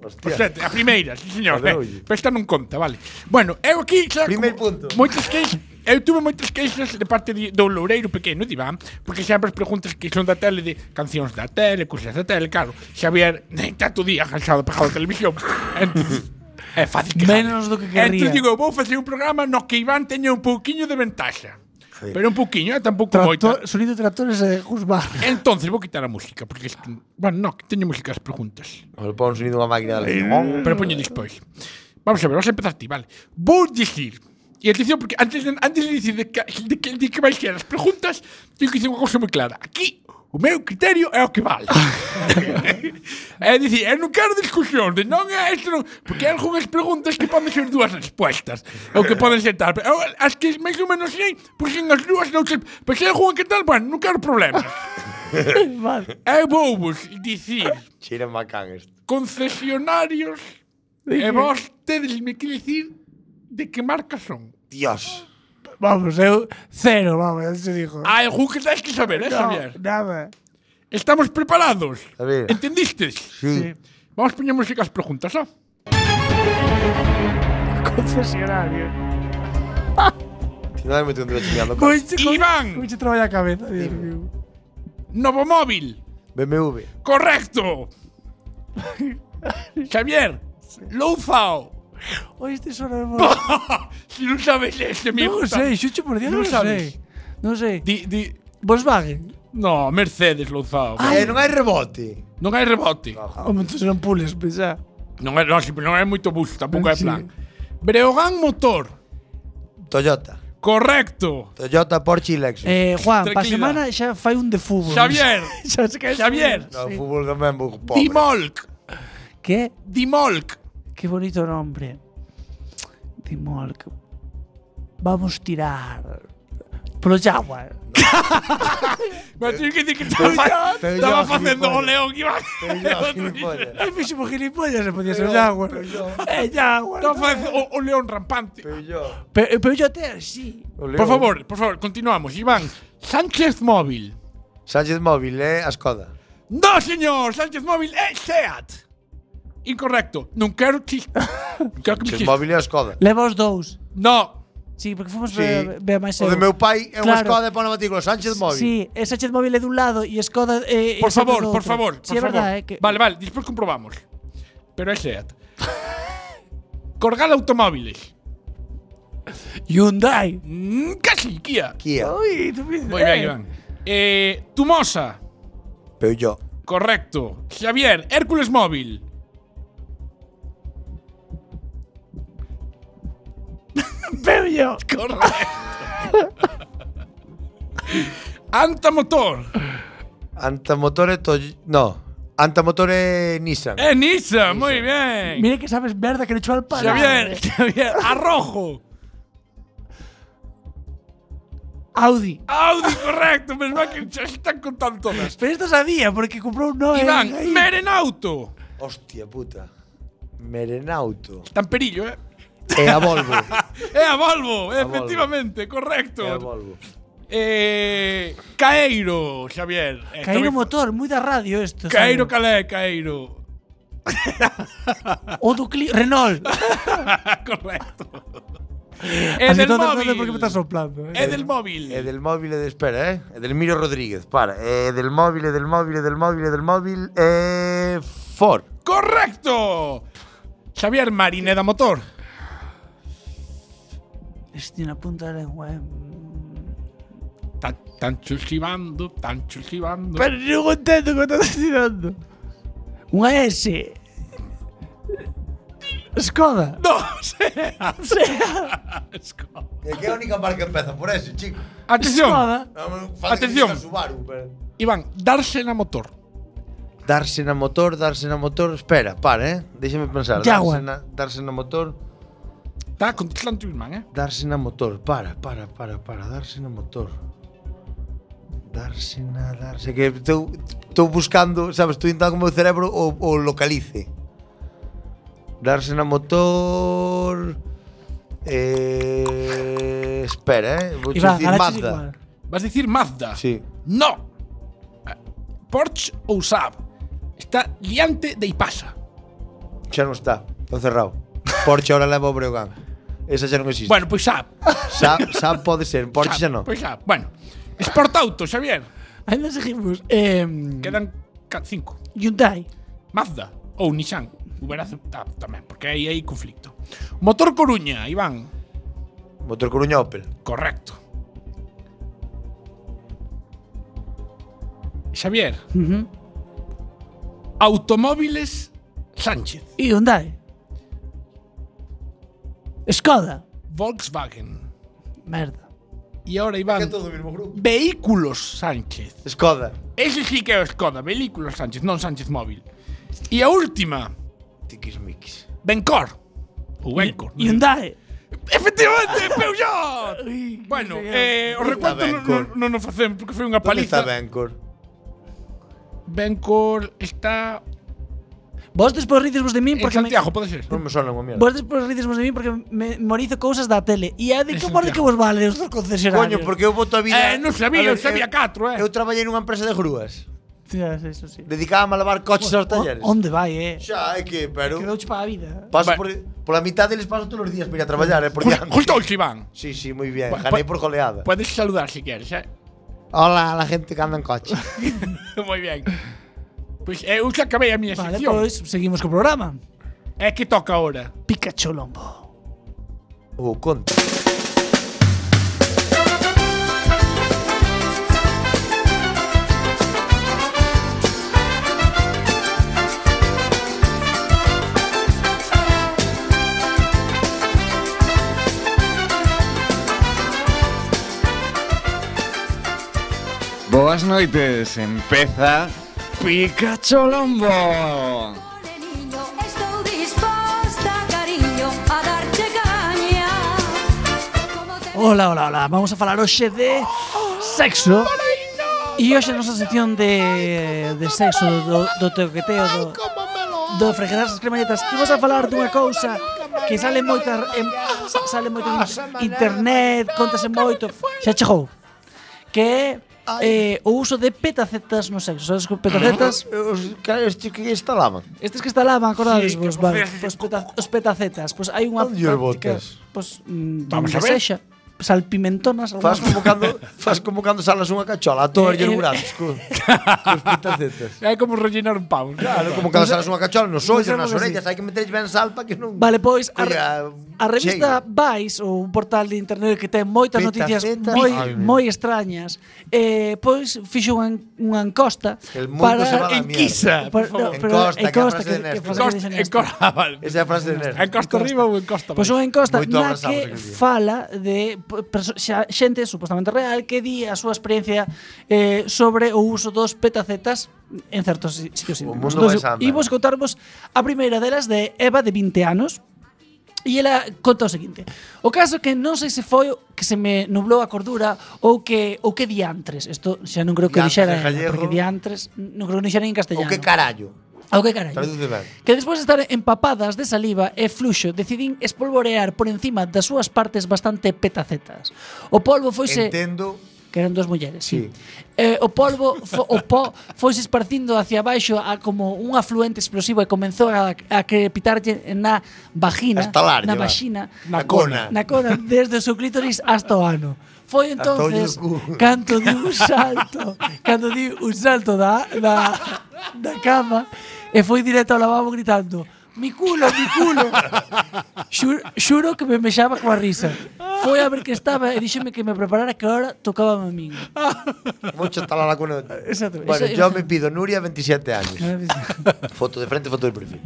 [SPEAKER 5] O
[SPEAKER 2] Hostia.
[SPEAKER 5] sete, a primeira, sí, señor.
[SPEAKER 2] Adeulle.
[SPEAKER 5] Eh, pero esta non conta, vale. Bueno, eu aquí... xa
[SPEAKER 2] Primeiro
[SPEAKER 5] como
[SPEAKER 2] punto.
[SPEAKER 5] Moitas queixas... Eu tuve moitas queixas de parte de, do loureiro pequeno, de Iván, porque sempre as preguntas que son da tele, de cancións da tele, cousas da tele, claro. Xavier, nem tanto día, cansado, pegado a televisión. Entón, é fácil que
[SPEAKER 4] Menos do que querría.
[SPEAKER 5] Entón, digo, vou facer un programa no que Iván teña un pouquiño de ventaxa.
[SPEAKER 2] Sí.
[SPEAKER 5] Pero un pouquiño, eh, tampouco moita.
[SPEAKER 4] Tractor, sonido de tractores e juzbar.
[SPEAKER 5] Entonces vou quitar a música, porque... es que- Bueno, no, que teño música as preguntas.
[SPEAKER 2] Vamos a pôr un sonido unha máquina de
[SPEAKER 5] Pero poño despois. Vamos a ver, vamos a empezar ti, vale. Vou dicir, e atención, porque antes de, antes de dicir de que, de que, de que vais ser as preguntas, teño que dicir unha cousa moi clara. Aquí, o meu criterio é o que vale. é dicir, eu non quero discusión de non é isto, non, porque hai algunhas preguntas que poden ser dúas respuestas, ou que poden ser tal. Eu, as que máis ou menos sei, porque as dúas non sei, pero se hai algunha que tal, bueno, non quero problemas.
[SPEAKER 4] Vale.
[SPEAKER 5] eu vou vos dicir
[SPEAKER 2] Chira macán isto.
[SPEAKER 5] concesionarios e vos tedes me que dicir de que marca son.
[SPEAKER 2] Dios.
[SPEAKER 4] [LAUGHS] Vamos, eu cero, vamos, eso dijo.
[SPEAKER 5] Hai algún que tens que saber, eh, Ah, Xavier?
[SPEAKER 4] nada.
[SPEAKER 5] Estamos preparados?
[SPEAKER 2] A ver.
[SPEAKER 5] Entendistes?
[SPEAKER 2] Sí.
[SPEAKER 5] Vamos poñer música as preguntas, ah. ó.
[SPEAKER 4] Concesionario.
[SPEAKER 2] Si non me meto un dedo chingando.
[SPEAKER 4] Pois che-
[SPEAKER 5] Iván.
[SPEAKER 4] Pois che traballa a cabeza, Dios mío.
[SPEAKER 5] Novo móvil.
[SPEAKER 2] BMW.
[SPEAKER 4] [LAUGHS]
[SPEAKER 5] Correcto. Xavier, Louzao.
[SPEAKER 4] Oi, este sonamos.
[SPEAKER 5] [LAUGHS] si non sabes este, me
[SPEAKER 4] Non
[SPEAKER 5] gusta.
[SPEAKER 4] sei, xucho por día non
[SPEAKER 5] Non sabes.
[SPEAKER 4] sei. Non sei.
[SPEAKER 5] Di, di...
[SPEAKER 4] Volkswagen.
[SPEAKER 5] No, Mercedes, Louzao.
[SPEAKER 4] Ah.
[SPEAKER 2] Eh, non hai rebote.
[SPEAKER 5] Non hai rebote.
[SPEAKER 4] Home, entón non pules, pois xa.
[SPEAKER 5] Non é, non, si- non é moito busto, tampouco é
[SPEAKER 4] Sí.
[SPEAKER 5] plan. Breogán Motor.
[SPEAKER 2] Toyota.
[SPEAKER 5] Correcto.
[SPEAKER 2] Toyota, Porsche e Lexus.
[SPEAKER 4] Eh, Juan, pa semana
[SPEAKER 5] Tranquilidad.
[SPEAKER 4] xa fai un de fútbol. [LAUGHS]
[SPEAKER 5] Xavier.
[SPEAKER 4] xa se cae
[SPEAKER 5] Xavier.
[SPEAKER 2] no, o fútbol tamén vou pobre.
[SPEAKER 5] Dimolk.
[SPEAKER 4] Que?
[SPEAKER 5] Dimolk.
[SPEAKER 4] Qué bonito nombre. Dimolk. Vamos tirar. Polo Jaguar.
[SPEAKER 5] Me tens que dicir que estaba,
[SPEAKER 2] Pero
[SPEAKER 5] estaba
[SPEAKER 2] yo,
[SPEAKER 5] facendo
[SPEAKER 2] gilipollas.
[SPEAKER 5] o león que iba.
[SPEAKER 2] Pero yo,
[SPEAKER 5] [LAUGHS]
[SPEAKER 2] gilipollas.
[SPEAKER 4] Ai, fixo por gilipollas, se podía ser
[SPEAKER 2] Pero-
[SPEAKER 4] Jaguar. [LAUGHS]
[SPEAKER 2] pero yo-
[SPEAKER 4] É Jaguar.
[SPEAKER 5] Estaba facendo o, o león rampante.
[SPEAKER 2] Peugeot.
[SPEAKER 4] Pero, pero yo te sí.
[SPEAKER 2] O León.
[SPEAKER 5] Por favor, por favor, continuamos. Iván, Sánchez Móvil.
[SPEAKER 2] Sánchez Móvil, eh, a Skoda.
[SPEAKER 5] No, señor, Sánchez Móvil é Seat. Incorrecto. Non quero
[SPEAKER 4] [LAUGHS]
[SPEAKER 5] ti. Non quero que me quis.
[SPEAKER 2] Chismóvil é a Skoda.
[SPEAKER 4] Leva os dous.
[SPEAKER 5] No.
[SPEAKER 4] Sí, porque fomos
[SPEAKER 2] Sí.
[SPEAKER 4] ver, ver máis
[SPEAKER 2] O de meu pai é unha Skoda e pon a matrícula Sánchez Móvil.
[SPEAKER 4] Sí, é Sánchez Móvil é dun lado e Skoda é
[SPEAKER 5] Por
[SPEAKER 4] é Skoda
[SPEAKER 5] favor,
[SPEAKER 4] do
[SPEAKER 5] por
[SPEAKER 4] outro.
[SPEAKER 5] favor,
[SPEAKER 4] Sí,
[SPEAKER 5] por
[SPEAKER 4] é verdade,
[SPEAKER 5] favor.
[SPEAKER 4] é que
[SPEAKER 5] Vale, vale, despois comprobamos. Pero é
[SPEAKER 4] [LAUGHS]
[SPEAKER 5] Seat. Corgal automóviles.
[SPEAKER 4] Hyundai.
[SPEAKER 5] Mm, casi, Kia.
[SPEAKER 2] Kia.
[SPEAKER 4] Uy, tú me-
[SPEAKER 5] Muy bien,
[SPEAKER 4] eh.
[SPEAKER 5] Iván. Eh, Tumosa.
[SPEAKER 2] Peugeot.
[SPEAKER 5] Correcto. Xavier, Hércules móvil.
[SPEAKER 4] Peugeot.
[SPEAKER 5] Anta motor.
[SPEAKER 2] Antamotor é Toy- No. Antamotor é Nissan.
[SPEAKER 5] Eh, Nissan, muy bien.
[SPEAKER 4] Mira que sabes merda que le echó al palo.
[SPEAKER 5] Xavier, Xavier, Arrojo.
[SPEAKER 4] Audi.
[SPEAKER 5] Audi, correcto. Me que se están contando todas.
[SPEAKER 4] Pero esto sabía porque compró un Noe.
[SPEAKER 5] Iván,
[SPEAKER 4] ahí.
[SPEAKER 5] Merenauto.
[SPEAKER 2] Hostia puta. Merenauto.
[SPEAKER 5] Tamperillo, eh.
[SPEAKER 2] É a Volvo.
[SPEAKER 5] É a Volvo,
[SPEAKER 2] Volvo.
[SPEAKER 5] efectivamente,
[SPEAKER 2] é a
[SPEAKER 5] correcto.
[SPEAKER 2] Volvo.
[SPEAKER 5] Eh, Caeiro, Xavier. Eh,
[SPEAKER 4] Cairo
[SPEAKER 5] tamén-
[SPEAKER 4] motor, muy da radio esto.
[SPEAKER 5] Caeiro
[SPEAKER 4] sabe?
[SPEAKER 5] calé, Caeiro.
[SPEAKER 4] O Ducli. Renault. [LAUGHS]
[SPEAKER 5] correcto.
[SPEAKER 4] Así
[SPEAKER 5] Edelmóvil.
[SPEAKER 4] todo el mundo, ¿por qué me estás soplando? eh?
[SPEAKER 5] É del móvil.
[SPEAKER 2] É del móvil e de espera, eh? É del Miro Rodríguez, para. É del móvil, é del móvil, é del móvil, é del móvil, é Ford.
[SPEAKER 5] Correcto. Xavier Marineda Motor.
[SPEAKER 4] Estoy en la punta de la lengua. eh.
[SPEAKER 5] Tan, tan chusquivando, tan chusquivando.
[SPEAKER 4] Pero no contento que me estás tirando. Un AS. Skoda.
[SPEAKER 5] No, [LAUGHS] sea.
[SPEAKER 2] É que é a única marca que empeza por ese, chico.
[SPEAKER 4] [LAUGHS]
[SPEAKER 5] Atención,
[SPEAKER 4] Skoda.
[SPEAKER 5] Atención.
[SPEAKER 2] Subaru, pero...
[SPEAKER 5] Iván, dársena motor.
[SPEAKER 2] Darse na motor, darse na motor. Espera, para, eh? Déxame pensar.
[SPEAKER 4] Jaguar.
[SPEAKER 2] Darse na, darse na motor,
[SPEAKER 5] Está contestando tu Iván, eh.
[SPEAKER 2] darse na motor. Para, para, para, para. Darse na motor. Darse na, darse. Que estou estou buscando, sabes, estou intentando que o meu cerebro o, o localice. Darse na motor. Eh, espera, eh? Vou
[SPEAKER 4] Iván,
[SPEAKER 2] dicir
[SPEAKER 4] ahora
[SPEAKER 2] Mazda.
[SPEAKER 4] igual.
[SPEAKER 5] Vas a decir Mazda.
[SPEAKER 2] Sí.
[SPEAKER 5] No. Ah, Porsche ou Saab. Está liante de Ipasa.
[SPEAKER 2] Xa non está, está cerrado. Porsche ahora leva o Breogán. Esa xa non existe.
[SPEAKER 5] Bueno, pues. pois Saab.
[SPEAKER 2] Sa, sa pode ser, Porsche xa
[SPEAKER 5] Saab,
[SPEAKER 2] non.
[SPEAKER 5] Pois Saab. Bueno. Sportauto, Xavier.
[SPEAKER 4] Ahí nos dijimos. em,
[SPEAKER 5] Quedan 5.
[SPEAKER 4] Hyundai.
[SPEAKER 5] Mazda ou Nissan. Hubiera aceptado tamén, porque aí hai conflicto. Motor Coruña, Iván.
[SPEAKER 2] Motor Coruña Opel.
[SPEAKER 5] Correcto. Xavier,
[SPEAKER 4] Ujú.
[SPEAKER 5] Automóviles Sánchez.
[SPEAKER 4] Hyundai. Skoda.
[SPEAKER 5] Volkswagen.
[SPEAKER 4] Merda.
[SPEAKER 5] E ahora Iván,
[SPEAKER 2] todo o mesmo grupo.
[SPEAKER 5] Vehículos Sánchez.
[SPEAKER 2] Skoda.
[SPEAKER 5] Ese sí que é o Skoda, Vehículos Sánchez, non Sánchez Móvil. E a última,
[SPEAKER 2] Tiquismiquis.
[SPEAKER 5] Bencor. O Bencor.
[SPEAKER 4] Hyundai.
[SPEAKER 5] Efectivamente,
[SPEAKER 4] [LAUGHS]
[SPEAKER 5] Peugeot! bueno, eh, o recuento
[SPEAKER 2] Está
[SPEAKER 5] non
[SPEAKER 2] Bencor.
[SPEAKER 5] no, no, facemos porque foi
[SPEAKER 2] Onde
[SPEAKER 5] unha
[SPEAKER 2] está
[SPEAKER 5] paliza.
[SPEAKER 2] Bencor?
[SPEAKER 5] Bencor está
[SPEAKER 4] Vos despois rides vos de min
[SPEAKER 5] en
[SPEAKER 4] porque me-
[SPEAKER 5] Santiago, pode ser.
[SPEAKER 2] Non me sona unha mierda.
[SPEAKER 4] Vos despois rides vos de min porque me memorizo cousas da tele. E a de
[SPEAKER 5] Es
[SPEAKER 4] que morde que
[SPEAKER 5] Santiago.
[SPEAKER 4] vos vale os dos concesionarios.
[SPEAKER 2] Coño, porque eu boto a vida...
[SPEAKER 5] Eh, non sabía,
[SPEAKER 2] A
[SPEAKER 5] eu sabía
[SPEAKER 2] eu-
[SPEAKER 5] catro, eh.
[SPEAKER 2] Eu traballei nunha empresa de grúas.
[SPEAKER 4] Tías, eso sí.
[SPEAKER 2] Dedicábame a lavar coches aos talleres.
[SPEAKER 4] O- Onde vai, eh?
[SPEAKER 2] Xa, é que, pero...
[SPEAKER 4] Quedouche para a vida.
[SPEAKER 2] Paso
[SPEAKER 5] Bueno.
[SPEAKER 2] por, pola mitad deles paso todos os días para ir a traballar, eh, por
[SPEAKER 5] Jus-
[SPEAKER 2] diante.
[SPEAKER 5] Justo hoxe, Iván.
[SPEAKER 2] Sí, sí, moi bien.
[SPEAKER 5] Bueno,
[SPEAKER 2] Ganei
[SPEAKER 5] pa-
[SPEAKER 2] por goleada.
[SPEAKER 5] Podes saludar si queres, eh. [LAUGHS]
[SPEAKER 2] Hola a la gente que anda en [LAUGHS] coche.
[SPEAKER 5] Moi ben. Pois eu xa acabei a miña
[SPEAKER 4] Vale, pues-
[SPEAKER 5] sección.
[SPEAKER 4] pois seguimos co programa.
[SPEAKER 5] É que toca ahora.
[SPEAKER 4] Pikachu Lombo.
[SPEAKER 2] O conto.
[SPEAKER 3] Boas noites, empeza Pikachu Lombo.
[SPEAKER 6] Ole, niño, estou disposta, cariño, a darche caña. Como te
[SPEAKER 4] Hola, hola, hola. Vamos a falar hoxe de sexo. E hoxe a nosa sección de, de sexo, do, do toqueteo, do, do fregar as cremalletas. E vamos a falar dunha cousa que sale moito en, sale moito en internet, contase moito. Xa chegou. Que é eh, o uso de petacetas no sexo. Sabes que petacetas?
[SPEAKER 2] Os ca- estes que instalaban.
[SPEAKER 4] Estes que estalaban, acordades
[SPEAKER 2] Sí,
[SPEAKER 4] vos,
[SPEAKER 2] que [LAUGHS]
[SPEAKER 4] vale. Pues
[SPEAKER 2] facías
[SPEAKER 4] peta, os petacetas, pois hai unha
[SPEAKER 2] Onde os
[SPEAKER 4] práctica,
[SPEAKER 2] botas?
[SPEAKER 4] pois mm,
[SPEAKER 2] Vamos
[SPEAKER 4] donde
[SPEAKER 2] a ver.
[SPEAKER 4] sexa, salpimentonas,
[SPEAKER 2] Fas como
[SPEAKER 4] algunhas.
[SPEAKER 2] cando, fas como cando salas unha cachola, a todas
[SPEAKER 4] Eh, eh,
[SPEAKER 2] os buratos. co- Cos
[SPEAKER 5] [LAUGHS]
[SPEAKER 2] pitacetas.
[SPEAKER 5] É como rellenar un pan.
[SPEAKER 2] Claro, como cando salas unha cachola nos ollos,
[SPEAKER 4] Usamos así.
[SPEAKER 2] nas orellas, hai que meterlle ben sal para que non...
[SPEAKER 4] Vale, pois a,
[SPEAKER 2] Colla
[SPEAKER 4] a revista Vice, ou un portal de internet que ten moitas noticias
[SPEAKER 2] Petacetas.
[SPEAKER 4] moi
[SPEAKER 2] Ai, meu.
[SPEAKER 4] moi extrañas, eh, pois fixo unha, unha encosta
[SPEAKER 2] El mundo
[SPEAKER 4] para
[SPEAKER 2] se va a la mierda.
[SPEAKER 4] para- no, pero
[SPEAKER 2] Encosta, que é a
[SPEAKER 4] encosta
[SPEAKER 2] frase de
[SPEAKER 4] que- que
[SPEAKER 2] Néstor.
[SPEAKER 4] frase de Néstor.
[SPEAKER 2] Esa é a frase de Néstor.
[SPEAKER 5] Encosta arriba ou encosta
[SPEAKER 4] Pois unha encosta
[SPEAKER 2] Moito
[SPEAKER 4] na
[SPEAKER 2] abrazamos
[SPEAKER 4] que
[SPEAKER 2] aquel día.
[SPEAKER 4] fala de p- perso- xa- xente supostamente real que di a súa experiencia eh, sobre o uso dos petacetas en certos si- sitios íntimos.
[SPEAKER 2] mundo vai
[SPEAKER 4] Entón,
[SPEAKER 2] samba.
[SPEAKER 4] Imos contarvos a primeira delas de Eva de 20 anos. E ela conta o seguinte. O caso é que non sei se foi que se me nublou a cordura ou que ou que diantres. Isto xa non creo que
[SPEAKER 2] Diantres
[SPEAKER 4] dixera,
[SPEAKER 2] en
[SPEAKER 4] ela,
[SPEAKER 2] gallego.
[SPEAKER 4] porque diantres non creo que dixera en
[SPEAKER 2] O
[SPEAKER 4] castellano.
[SPEAKER 2] que carallo.
[SPEAKER 4] Ao que carallo.
[SPEAKER 2] Traduce ben.
[SPEAKER 4] Que despois de estar empapadas de saliva e fluxo, decidín espolvorear por encima das súas partes bastante petacetas. O polvo foise...
[SPEAKER 2] Entendo
[SPEAKER 4] Que eran dúas mulleres, sí. Eh, o polvo, fo, o pó, foise esparcindo hacia baixo a como un afluente explosivo e comenzou a, a crepitarlle na vagina,
[SPEAKER 2] A estalarlle,
[SPEAKER 4] na
[SPEAKER 2] va.
[SPEAKER 4] vagina,
[SPEAKER 2] Na cona.
[SPEAKER 4] na cona, desde o seu clítoris hasta o ano. Foi
[SPEAKER 2] Hasta o
[SPEAKER 4] entonces
[SPEAKER 2] ollo cu.
[SPEAKER 4] canto di un salto, canto di un salto da, da, da cama e foi directo ao lavabo gritando Mi culo, mi culo. Xur, xuro que me mexaba coa risa. Foi a ver que estaba e díxeme que me preparara que ahora tocaba a min.
[SPEAKER 2] Mocho está la lacuna.
[SPEAKER 4] Exacto.
[SPEAKER 2] Bueno,
[SPEAKER 4] Eso- Ah,
[SPEAKER 2] yo me pido Nuria, 27 años. [LAUGHS] foto de frente, foto de perfil.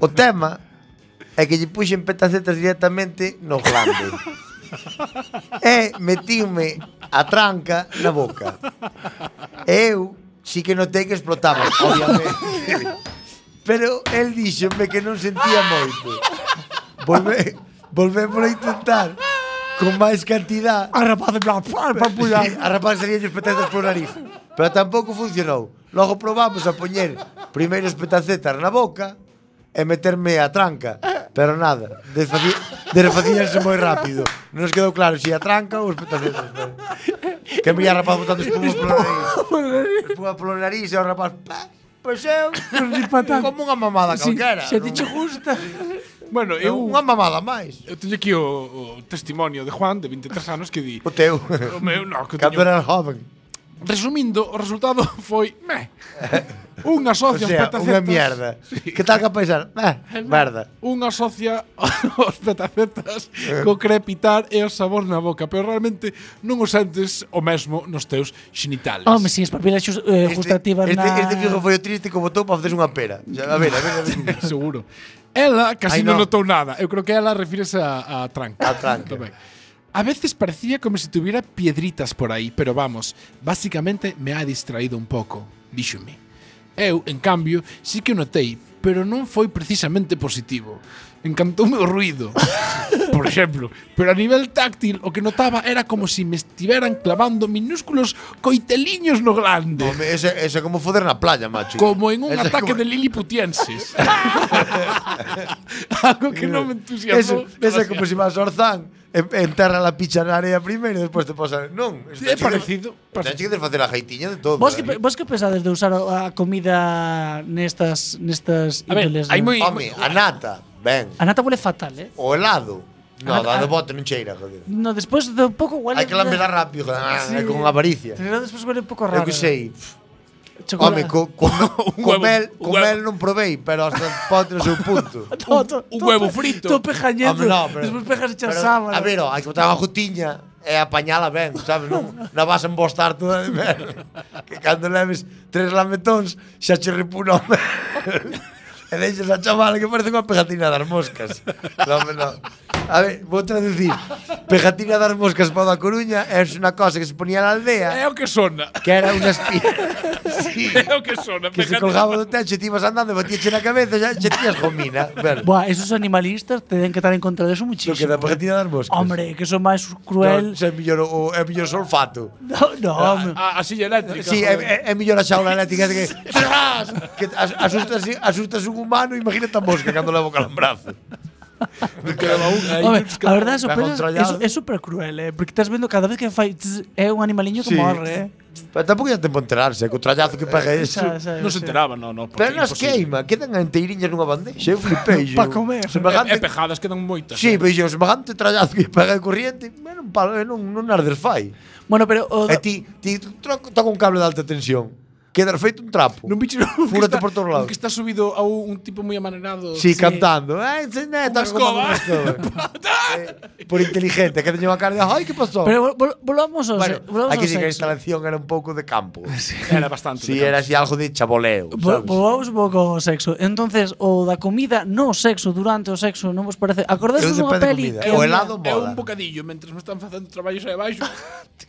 [SPEAKER 2] O tema é que lle puxen petacetas directamente no glande. e metíme a tranca na boca. E eu sí que notei que explotaba,
[SPEAKER 4] [LAUGHS]
[SPEAKER 2] obviamente. Pero el díxome que non sentía moito. Volve, volvemos a intentar con máis cantidad
[SPEAKER 4] A rapaz de plan, pam, pam, pam.
[SPEAKER 2] Sí, a rapaz salía os petacetas por nariz. Pero tampouco funcionou. Logo probamos a poñer primeiro os petacetas na boca e meterme a tranca. Pero nada, desfaci- desfacíanse moi rápido. Non nos quedou claro se a tranca ou os petacetas. pero- Que me ia rapaz botando espumas polo nariz. Espuma polo nariz e o rapaz... Pa, pois eu... Como unha mamada
[SPEAKER 4] Si-
[SPEAKER 2] calquera.
[SPEAKER 4] Se ti che gusta.
[SPEAKER 5] Bueno, eu,
[SPEAKER 2] Unha mamada máis.
[SPEAKER 5] eu teño aquí o, o testimonio de Juan, de 23 anos, que di...
[SPEAKER 2] O teu.
[SPEAKER 5] O meu, no, que
[SPEAKER 2] Cando
[SPEAKER 5] teño,
[SPEAKER 2] era joven.
[SPEAKER 5] resumindo, o resultado [LAUGHS] foi... Meh, un
[SPEAKER 2] O
[SPEAKER 5] asocia os
[SPEAKER 2] sea,
[SPEAKER 5] petacetas...
[SPEAKER 2] unha mierda. Que tal que a paisar? Eh, merda.
[SPEAKER 5] Un [LAUGHS] asocia os petacetas co crepitar e o sabor na boca, pero realmente non o sentes o mesmo nos teus xinitales.
[SPEAKER 4] Home, si, espabilas xus- eh, gustativas
[SPEAKER 2] este,
[SPEAKER 4] na...
[SPEAKER 2] este fijo foi o triste como todo para facerse unha pera. O sea, a ver, a ver, a
[SPEAKER 5] [LAUGHS]
[SPEAKER 2] ver.
[SPEAKER 5] Seguro. Ela
[SPEAKER 2] Ai,
[SPEAKER 5] casi no.
[SPEAKER 2] no.
[SPEAKER 5] notou nada. Eu creo que ela refírese a, a tranca.
[SPEAKER 2] A tranca.
[SPEAKER 5] Tamén. A veces parecía como si tuviera piedritas por ahí, pero vamos, básicamente me ha distraído un pouco, díxome. Eu, en cambio, sí que o notei, pero non foi precisamente positivo. Encantoume o ruido,
[SPEAKER 2] [LAUGHS]
[SPEAKER 5] por exemplo, pero a nivel táctil o que notaba era como si me estiveran clavando minúsculos coiteliños no glande.
[SPEAKER 2] Home, ese, ese é como foder na playa, macho.
[SPEAKER 5] Como en un
[SPEAKER 2] Ese é
[SPEAKER 5] ataque
[SPEAKER 2] como-
[SPEAKER 5] de
[SPEAKER 2] [LAUGHS]
[SPEAKER 5] lilliputienses. Algo que no me entusiasmó.
[SPEAKER 2] Ese, ese é
[SPEAKER 5] demasiado.
[SPEAKER 2] como se vas ao Orzán, en- enterra la picha na area primeiro e despois te pasa... Non,
[SPEAKER 5] Sí, é parecido.
[SPEAKER 2] Tens que desfacer a jaitiña de todo.
[SPEAKER 4] Vos que,
[SPEAKER 2] eh.
[SPEAKER 4] pe- vos que pensades de usar a a comida nestas nestas
[SPEAKER 5] A ver,
[SPEAKER 4] índoles,
[SPEAKER 5] hai
[SPEAKER 4] non?
[SPEAKER 5] moi-
[SPEAKER 2] Home, a nata, ben.
[SPEAKER 4] A nata huele fatal, eh?
[SPEAKER 2] O helado. No,
[SPEAKER 4] nata-
[SPEAKER 2] da do bote non cheira, joder.
[SPEAKER 4] No, despois do pouco huele...
[SPEAKER 2] Hai que lamberla rápido, joder,
[SPEAKER 4] Sí.
[SPEAKER 2] con avaricia.
[SPEAKER 4] Pero despois huele un pouco raro.
[SPEAKER 2] Eu que sei.
[SPEAKER 4] Chocolate.
[SPEAKER 2] eh.
[SPEAKER 4] [LAUGHS]
[SPEAKER 2] Home, co, co, [LAUGHS]
[SPEAKER 5] huevo,
[SPEAKER 2] comel,
[SPEAKER 5] un
[SPEAKER 2] comel non provei, pero hasta pode ser un punto.
[SPEAKER 4] To- to-
[SPEAKER 5] un
[SPEAKER 4] to-
[SPEAKER 5] huevo
[SPEAKER 4] to-
[SPEAKER 5] frito.
[SPEAKER 4] Tope jañendo.
[SPEAKER 2] Home, Ah, no, pero-
[SPEAKER 4] despois pegas echar
[SPEAKER 2] pero,
[SPEAKER 4] sábana.
[SPEAKER 2] A ver, ó, hai que botar unha jutiña e apañala ben, sabes? Non, non vas a embostar toda de merda. Que cando leves tres lametóns xa che repuna o merda. [LAUGHS] E deixes a chavala que parece unha pegatina das moscas. Non, home, non. A ver, vou traducir. Pegatina das moscas para a Coruña é unha cosa que se ponía na
[SPEAKER 5] É
[SPEAKER 2] aldea
[SPEAKER 5] o que sona.
[SPEAKER 2] que era unha espía.
[SPEAKER 5] [LAUGHS]
[SPEAKER 2] Sí.
[SPEAKER 5] É o que sona.
[SPEAKER 2] Que se
[SPEAKER 5] fíjate.
[SPEAKER 2] colgaba do techo e ti ibas andando e batíache na cabeza e xa xa tías [LAUGHS] gomina. Ver,
[SPEAKER 4] Buah, esos animalistas ten que estar en contra deso
[SPEAKER 2] lo
[SPEAKER 4] muchísimo. ¿eh?
[SPEAKER 2] que da pegatina das moscas.
[SPEAKER 4] Hombre, que son máis cruel.
[SPEAKER 2] Se mellor o é mellor solfato.
[SPEAKER 4] [LAUGHS] No, no, home.
[SPEAKER 5] A, a silla eléctrica.
[SPEAKER 2] Sí, eh, é,
[SPEAKER 5] joder.
[SPEAKER 2] é, é mellor a xaula eléctrica [LAUGHS] que que as- asustas asustas un humano, imagínate a mosca cando leva o calambrazo. Me quedaba un aí.
[SPEAKER 4] Home,
[SPEAKER 2] que
[SPEAKER 4] a verdade, eso,
[SPEAKER 2] ben
[SPEAKER 4] pero
[SPEAKER 2] controlado.
[SPEAKER 4] es, es super cruel, eh? Porque estás vendo cada vez que fai tss, é un animaliño que
[SPEAKER 2] Sí.
[SPEAKER 4] morre, eh?
[SPEAKER 2] Pero tampouco ia tempo a enterarse, co trallazo que pega
[SPEAKER 4] Eh,
[SPEAKER 2] eso.
[SPEAKER 4] xa, xa,
[SPEAKER 5] Non se
[SPEAKER 4] xa.
[SPEAKER 5] enteraba, non, non.
[SPEAKER 2] Pero nas
[SPEAKER 5] Eh,
[SPEAKER 2] queima, quedan enteiriñas nunha bandeja. Eu flipei.
[SPEAKER 4] Pa
[SPEAKER 2] eu.
[SPEAKER 4] comer.
[SPEAKER 5] E,
[SPEAKER 2] Semejante
[SPEAKER 5] e eh, pejadas quedan moitas. eh.
[SPEAKER 2] Sí, pero yo semejante trallazo que pega a corriente, bueno, un palo, eh, non, non nas desfai.
[SPEAKER 4] Bueno, pero o,
[SPEAKER 2] E ti, ti troco, toca un cable de alta tensión. Quedas feito un trapo.
[SPEAKER 5] Non bicho non,
[SPEAKER 2] [LAUGHS]
[SPEAKER 5] que
[SPEAKER 2] Fúrate
[SPEAKER 5] está-
[SPEAKER 2] por todos lados.
[SPEAKER 5] un Que está subido a un, un tipo moi amanerado.
[SPEAKER 2] Sí, cantando. Eh, sí, ne,
[SPEAKER 5] Unha
[SPEAKER 2] está como una
[SPEAKER 5] escoba.
[SPEAKER 2] escoba.
[SPEAKER 5] [LAUGHS]
[SPEAKER 2] Eh, por inteligente, que teño a cara de, ai, que pasou?
[SPEAKER 4] pero vol- vol- volvamos aos,
[SPEAKER 2] bueno,
[SPEAKER 4] volvamos
[SPEAKER 2] hai
[SPEAKER 4] ao
[SPEAKER 2] que decir que a
[SPEAKER 4] sexo.
[SPEAKER 2] instalación era un pouco de campo. Sí,
[SPEAKER 5] Era bastante. de
[SPEAKER 2] era
[SPEAKER 5] cara.
[SPEAKER 2] así algo de chaboleo,
[SPEAKER 4] Vo-
[SPEAKER 2] sabes?
[SPEAKER 4] Volvamos un pouco ao sexo. Entonces, o da comida, no o sexo, durante o sexo, non vos parece? Acordades
[SPEAKER 2] Eu
[SPEAKER 4] dunha
[SPEAKER 2] depende da
[SPEAKER 4] peli
[SPEAKER 2] comida.
[SPEAKER 4] que
[SPEAKER 2] O
[SPEAKER 4] había-
[SPEAKER 2] helado
[SPEAKER 5] É un
[SPEAKER 2] mola.
[SPEAKER 5] bocadillo, mentres me están facendo traballos aí abaixo.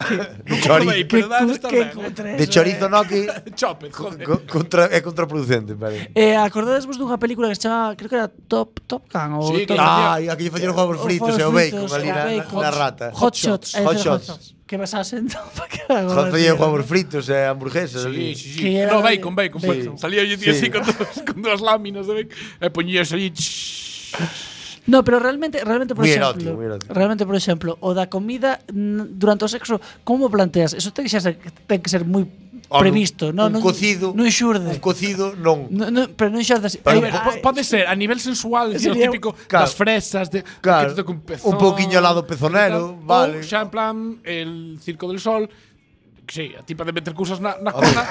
[SPEAKER 5] [LAUGHS] non
[SPEAKER 2] [LAUGHS] Chorizo.
[SPEAKER 5] comprobei,
[SPEAKER 4] Que,
[SPEAKER 5] pero dá
[SPEAKER 4] cu-
[SPEAKER 5] estar
[SPEAKER 4] que
[SPEAKER 5] ben.
[SPEAKER 4] cutre
[SPEAKER 2] De
[SPEAKER 4] eso,
[SPEAKER 2] chorizo
[SPEAKER 4] eh.
[SPEAKER 5] [LAUGHS]
[SPEAKER 2] noki
[SPEAKER 5] Chopet, joder.
[SPEAKER 2] co- contra, é contraproducente, parece.
[SPEAKER 4] Eh, acordades vos dunha película que se chama, creo que era Top Top Gun ou
[SPEAKER 5] Sí,
[SPEAKER 4] Top
[SPEAKER 5] claro.
[SPEAKER 2] Ah, e aquí faceron huevos fritos e o bacon ali na,
[SPEAKER 4] bacon,
[SPEAKER 2] na rata.
[SPEAKER 4] Hot shots. eh,
[SPEAKER 2] Hot
[SPEAKER 4] hot
[SPEAKER 2] shots.
[SPEAKER 4] shots. Que vas a sentar [LAUGHS] para que haga gracia,
[SPEAKER 2] Hot faceron
[SPEAKER 4] ¿no?
[SPEAKER 2] huevos fritos e hamburguesas
[SPEAKER 5] Sí,
[SPEAKER 2] ali.
[SPEAKER 5] sí,
[SPEAKER 4] Que
[SPEAKER 5] sí.
[SPEAKER 4] era
[SPEAKER 5] No,
[SPEAKER 4] de-
[SPEAKER 5] bacon, bacon.
[SPEAKER 4] bacon.
[SPEAKER 5] bacon. Salía yo día
[SPEAKER 2] Sí.
[SPEAKER 5] así con, dos, con dúas láminas de bacon. E poñías aí... shhh.
[SPEAKER 4] No, pero realmente, realmente por
[SPEAKER 2] Muy
[SPEAKER 4] exemplo,
[SPEAKER 2] erótico, muy erótico.
[SPEAKER 4] realmente por exemplo, o da comida mm, durante o sexo, como o planteas? Eso ten que ser ten que ser moi
[SPEAKER 2] Ou
[SPEAKER 4] previsto,
[SPEAKER 2] un-
[SPEAKER 4] non
[SPEAKER 2] un
[SPEAKER 4] non
[SPEAKER 2] cocido,
[SPEAKER 4] non xurde.
[SPEAKER 2] Un cocido non.
[SPEAKER 4] No, no, pero non Eh, xurdes.
[SPEAKER 2] Pero
[SPEAKER 4] Ai,
[SPEAKER 5] A ver,
[SPEAKER 4] ai,
[SPEAKER 5] po- pode ser a nivel sensual, decir, o
[SPEAKER 4] Sería-
[SPEAKER 5] típico
[SPEAKER 2] Claro.
[SPEAKER 5] das fresas, de,
[SPEAKER 2] Claro.
[SPEAKER 5] que te toque un pezón.
[SPEAKER 2] Un poquiño al lado pezonero,
[SPEAKER 5] Ou
[SPEAKER 2] vale.
[SPEAKER 5] xa en plan, el circo del sol, que sí, a tipa de meter cousas na, na cona,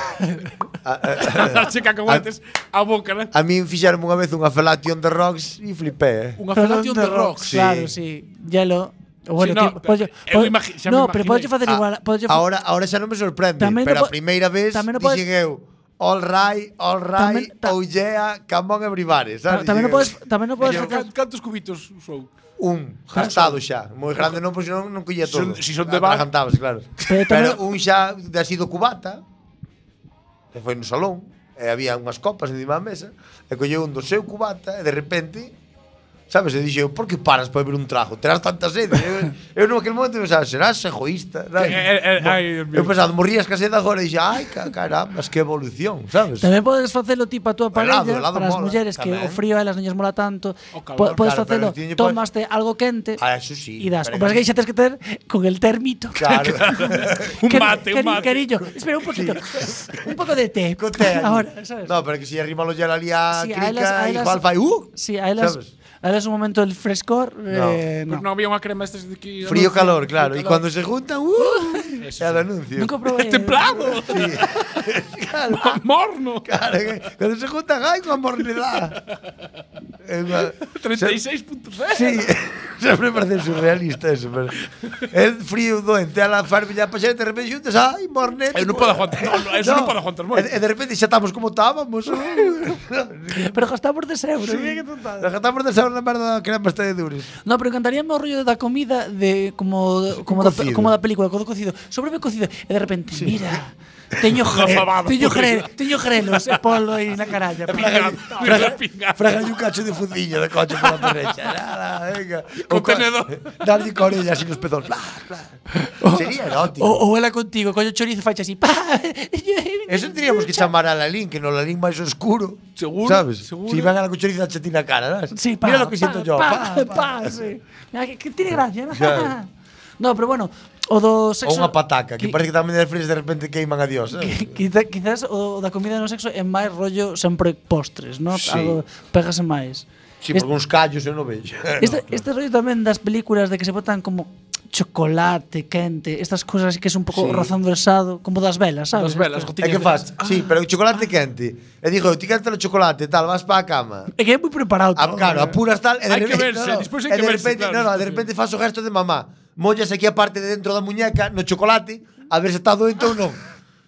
[SPEAKER 2] A-
[SPEAKER 5] a [LAUGHS]
[SPEAKER 2] [LAUGHS] a-
[SPEAKER 5] darche cacahuetes a boca, né?
[SPEAKER 2] A min fixaron unha vez unha felation de rocks e flipé. eh.
[SPEAKER 5] Unha
[SPEAKER 4] pero
[SPEAKER 5] felación de
[SPEAKER 4] onde
[SPEAKER 5] rock.
[SPEAKER 4] rocks,
[SPEAKER 2] sí.
[SPEAKER 4] Claro, sí. Hielo. O bueno,
[SPEAKER 5] Sí, no,
[SPEAKER 4] tipo, podes-
[SPEAKER 5] eu
[SPEAKER 4] podes-
[SPEAKER 5] imagi- xa me
[SPEAKER 4] no, pero podes
[SPEAKER 5] imaginei.
[SPEAKER 4] facer
[SPEAKER 2] A-
[SPEAKER 4] igual, podes
[SPEAKER 2] Ah, Ahora, ahora xa non me sorprende,
[SPEAKER 4] Tamén no
[SPEAKER 2] pero a
[SPEAKER 4] po-
[SPEAKER 2] primeira vez
[SPEAKER 4] tamén no
[SPEAKER 2] dixen
[SPEAKER 4] podes-
[SPEAKER 2] eu All right, all right,
[SPEAKER 4] Tamén- ta-
[SPEAKER 2] oh yeah, come on everybody, sabes?
[SPEAKER 4] tamén
[SPEAKER 2] Dixen
[SPEAKER 4] non podes
[SPEAKER 2] eu.
[SPEAKER 4] tamén non podes
[SPEAKER 2] Pero-
[SPEAKER 4] facer
[SPEAKER 5] Can- Cantos cubitos usou?
[SPEAKER 2] Un, gastado xa. Moi grande non, pois non, non collía
[SPEAKER 5] Si son-
[SPEAKER 2] todo.
[SPEAKER 5] si son de bar-
[SPEAKER 2] Atragantabas, claro.
[SPEAKER 4] Pero
[SPEAKER 2] Pero,
[SPEAKER 4] tamén-
[SPEAKER 2] un xa de así do cubata, e foi no salón, e había unhas copas encima da mesa, e colleu un do seu cubata, e de repente, sabes, e dixeu, por que paras para beber un trago? Terás tanta sede. eu, eu no aquel momento pensaba, serás egoísta. sabes?
[SPEAKER 5] Eh, eh, eh,
[SPEAKER 2] Mo-
[SPEAKER 5] ai, Dios mío.
[SPEAKER 2] eu pensaba, morrías ca sede agora, e dixe, ai, ca- caramba, que evolución, sabes?
[SPEAKER 4] Tamén podes facelo tipo a túa parella
[SPEAKER 2] helado, helado
[SPEAKER 4] para as
[SPEAKER 2] mola,
[SPEAKER 4] mulleres que o
[SPEAKER 2] tamén.
[SPEAKER 4] frío a elas non lles mola tanto.
[SPEAKER 5] O
[SPEAKER 4] po-
[SPEAKER 5] calor,
[SPEAKER 4] podes
[SPEAKER 2] claro, pero
[SPEAKER 4] facelo,
[SPEAKER 2] tiñe-
[SPEAKER 4] tomaste algo quente
[SPEAKER 2] Ah, eso sí.
[SPEAKER 4] e das. O
[SPEAKER 2] pero-
[SPEAKER 4] más que aí xa tes que ter con el termito. [LAUGHS]
[SPEAKER 2] Claro. [LAUGHS]
[SPEAKER 5] Un
[SPEAKER 4] Cari-
[SPEAKER 5] mate,
[SPEAKER 4] cari-
[SPEAKER 5] un mate.
[SPEAKER 4] Cariño, espera un poquito. un pouco de té. [LAUGHS]
[SPEAKER 2] Co té allí.
[SPEAKER 4] Ahora, sabes?
[SPEAKER 2] No, pero que si arrima lo llena ali a
[SPEAKER 4] Sí, a
[SPEAKER 2] crica,
[SPEAKER 4] elas- a elas-
[SPEAKER 2] igual fai, uh,
[SPEAKER 4] Sí, a elas,
[SPEAKER 2] Sabes?
[SPEAKER 4] a elas un momento el frescor. Eh,
[SPEAKER 5] Pero
[SPEAKER 4] no.
[SPEAKER 5] non había unha crema estas de que...
[SPEAKER 2] Frío calor, claro.
[SPEAKER 5] Frío,
[SPEAKER 2] Y cuando se juntan, ¡uh!
[SPEAKER 4] [LAUGHS]
[SPEAKER 5] Eso
[SPEAKER 2] Era el
[SPEAKER 5] sí.
[SPEAKER 2] anuncio.
[SPEAKER 4] Nunca probé.
[SPEAKER 2] [LAUGHS]
[SPEAKER 5] ¿Este Templado. Morno.
[SPEAKER 2] Claro, que cuando se juntan, ¡ay, con mornidad!
[SPEAKER 5] 36.0. [LAUGHS]
[SPEAKER 2] Sí, [LAUGHS] siempre parece surrealista eso, pero el frío doente a la farbilla para de repente juntas, ¡ay, mornet!
[SPEAKER 5] Eu non podo aguantar, non, eso non podo aguantar moito.
[SPEAKER 2] E de repente xa estamos como estábamos.
[SPEAKER 4] [LAUGHS] Pero gastamos de euros. mira que tontada.
[SPEAKER 2] Estamos de saber na merda da crema está de dures.
[SPEAKER 4] No, pero encantaríame o rollo da comida de como como da,
[SPEAKER 2] cocido.
[SPEAKER 4] como da película, co do cocido. Sobreme cocido e de repente, mira, teño jre,
[SPEAKER 5] fabada,
[SPEAKER 4] teño
[SPEAKER 5] pois.
[SPEAKER 4] jre, teño grelos e polo aí na caralla.
[SPEAKER 5] Pingado, mira, pingado.
[SPEAKER 2] Fraga un cacho de fuciño de coche pola perrecha. Nada, venga. O
[SPEAKER 5] Con
[SPEAKER 2] co- [LAUGHS]
[SPEAKER 5] tenedor.
[SPEAKER 2] Darlle con ella así nos pezóns. Bla, bla.
[SPEAKER 4] Oh.
[SPEAKER 2] Sería erótico.
[SPEAKER 4] O, o ela contigo, coño chorizo e faixa así. [LAUGHS] Pa.
[SPEAKER 2] Eso teríamos que chamar a Lalín, que no Lalín máis oscuro.
[SPEAKER 5] Seguro,
[SPEAKER 2] ¿Sabes?
[SPEAKER 5] seguro.
[SPEAKER 2] Si van a la cuchariza chatina cara, ¿sabes?
[SPEAKER 4] Sí, pa,
[SPEAKER 2] Mira lo que
[SPEAKER 4] pa,
[SPEAKER 2] siento yo.
[SPEAKER 4] Pa,
[SPEAKER 2] Pa,
[SPEAKER 4] pa, sí. Mira, que, que tiene gracia, ¿no?
[SPEAKER 2] Claro.
[SPEAKER 4] [LAUGHS] No, pero bueno, o do
[SPEAKER 2] O
[SPEAKER 4] sexo
[SPEAKER 2] unha pataca, que
[SPEAKER 4] qui-
[SPEAKER 2] parece que tamén de frías de repente queiman a Dios. ¿sabes?
[SPEAKER 4] qui- Quizá, quizás o da comida no sexo é máis rollo sempre postres, ¿no?
[SPEAKER 2] Sí.
[SPEAKER 4] Algo pegase máis.
[SPEAKER 2] Si,
[SPEAKER 4] Este-
[SPEAKER 2] porque uns callos eu non vexo. [LAUGHS]
[SPEAKER 4] Este, este rollo tamén das películas de que se botan como chocolate, quente, estas cosas así que es un pouco
[SPEAKER 2] Sí.
[SPEAKER 4] rozando el sado, como das velas, sabes? Este,
[SPEAKER 5] Las velas,
[SPEAKER 2] E
[SPEAKER 5] gotiñas.
[SPEAKER 2] que
[SPEAKER 5] de-
[SPEAKER 2] faz? Sí, pero
[SPEAKER 4] Ah.
[SPEAKER 2] o chocolate quente. E digo, ti quente o chocolate, tal, vas para a cama.
[SPEAKER 4] É que é moi preparado.
[SPEAKER 2] A,
[SPEAKER 4] todo. eh.
[SPEAKER 2] Ah, claro, apuras tal e de
[SPEAKER 5] Hai que
[SPEAKER 2] repente,
[SPEAKER 5] verse,
[SPEAKER 2] no, no,
[SPEAKER 5] despois hai
[SPEAKER 2] e
[SPEAKER 5] que
[SPEAKER 2] de
[SPEAKER 5] verse,
[SPEAKER 2] repente,
[SPEAKER 5] claro,
[SPEAKER 2] no, no, de
[SPEAKER 5] despois.
[SPEAKER 2] repente fas o gesto de mamá. Mollas aquí a parte de dentro da muñeca no chocolate a ver se está doente ou non.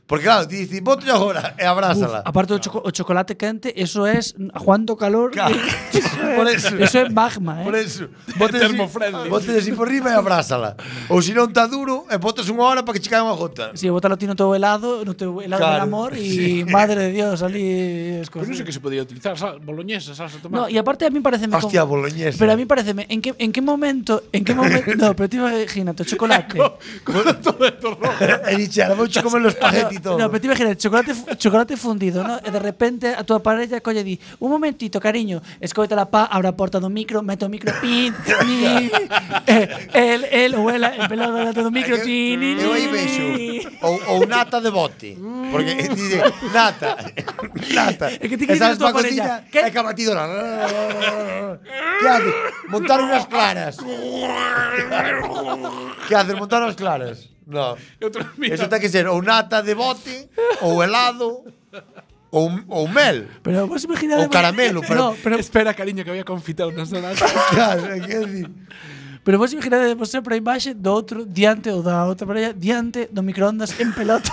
[SPEAKER 2] Porque claro, ti dices, "Boto agora" e
[SPEAKER 4] Uf,
[SPEAKER 2] abrázala.
[SPEAKER 4] aparte do choco- o chocolate quente, eso es aguanto calor.
[SPEAKER 2] Claro.
[SPEAKER 4] [LAUGHS]
[SPEAKER 2] Por eso.
[SPEAKER 4] eso es magma, eh.
[SPEAKER 2] Por
[SPEAKER 5] [LAUGHS]
[SPEAKER 2] eso, botes
[SPEAKER 5] Termofriendly.
[SPEAKER 2] así, botes así por riba e abrázala. Ou se non está duro, e botas unha hora para que che caiga unha gota.
[SPEAKER 4] Si, bótalo ti no teu helado, no teu helado
[SPEAKER 2] Claro.
[SPEAKER 4] del amor y madre de Dios, ali es
[SPEAKER 5] Pero non
[SPEAKER 4] cosa.
[SPEAKER 5] sei que se podía utilizar, sal, boloñesa, salsa de
[SPEAKER 4] No,
[SPEAKER 5] tomate.
[SPEAKER 4] y aparte a mí parece
[SPEAKER 2] Hostia, boloñesa.
[SPEAKER 4] Pero a mí
[SPEAKER 2] [LAUGHS]
[SPEAKER 4] parece, ¿en qué, en qué momento, [LAUGHS] en qué
[SPEAKER 2] [LAUGHS]
[SPEAKER 4] momento, no, pero te imagínate, o chocolate.
[SPEAKER 5] todo esto rojo.
[SPEAKER 2] e dixe, "Ahora vouche comer los
[SPEAKER 5] [LAUGHS]
[SPEAKER 2] y todo.
[SPEAKER 4] No, pero te imaginas, chocolate, fu- chocolate fundido, ¿no? E de repente a tua parella colle di un momentito, cariño, escoita la pá, abre a porta do micro, mete o micro,
[SPEAKER 2] [LAUGHS]
[SPEAKER 4] pin, ni, eh, el, el ou ela, en pelado delante do micro, tin, ni,
[SPEAKER 2] Eu
[SPEAKER 4] ni,
[SPEAKER 2] aí vexo
[SPEAKER 4] ni.
[SPEAKER 2] ou, ou nata de bote. Porque eh, dice, nata, nata.
[SPEAKER 4] É que ti que
[SPEAKER 2] E sabes
[SPEAKER 4] dices tua
[SPEAKER 2] pa cociña,
[SPEAKER 4] parella,
[SPEAKER 2] É que a batidora. que haces? Montar unhas claras. que haces? Montar unhas claras. No. Eso ten que ser ou nata de bote, ou helado, ou, ou mel.
[SPEAKER 4] Pero vos imaginade...
[SPEAKER 2] O caramelo, pero- No,
[SPEAKER 5] Espera, cariño, que había confitado unas [LAUGHS] donas.
[SPEAKER 2] Claro, é que decir.
[SPEAKER 4] Pero vos imaginade vos sempre a imaxe do outro diante ou da outra parella diante do microondas en pelota.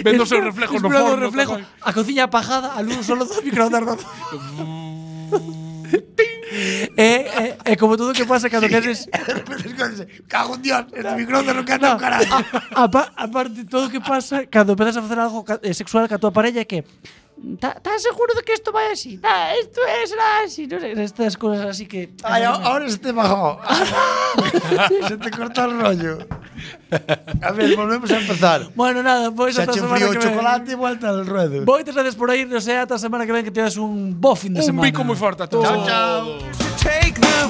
[SPEAKER 5] Vendo os seus reflejos no
[SPEAKER 4] Esperando o
[SPEAKER 5] forno,
[SPEAKER 4] reflejo,
[SPEAKER 5] tamén.
[SPEAKER 4] a cociña apagada, a luz solo do microondas
[SPEAKER 2] [LAUGHS]
[SPEAKER 4] roto. É, é, é eh, como todo o que pasa cando
[SPEAKER 2] [LAUGHS]
[SPEAKER 4] queres
[SPEAKER 2] Cago en Dios, este microondas non canta un carallo.
[SPEAKER 4] a, pa- a parte todo o que pasa cando empezas a facer algo ca- eh, sexual ca tua parella é que estás seguro de que isto vai así? Ta, isto é será así, non sei, estas cousas así que
[SPEAKER 2] Ay, a- ahora se te bajó. se te cortó el rollo. A ver, volvemos a empezar.
[SPEAKER 4] Bueno, nada, pois
[SPEAKER 2] Se ha
[SPEAKER 4] ata a
[SPEAKER 2] hecho
[SPEAKER 4] semana
[SPEAKER 2] frío
[SPEAKER 4] que
[SPEAKER 2] el
[SPEAKER 4] ven.
[SPEAKER 2] chocolate y vuelta al ruedo.
[SPEAKER 4] Moitas gracias por ir, non sei, ata a semana que ven que tedes un bo fin de
[SPEAKER 5] Un
[SPEAKER 4] semana.
[SPEAKER 5] bico muy fuerte a todos.
[SPEAKER 2] Chao, chao.
[SPEAKER 6] Take the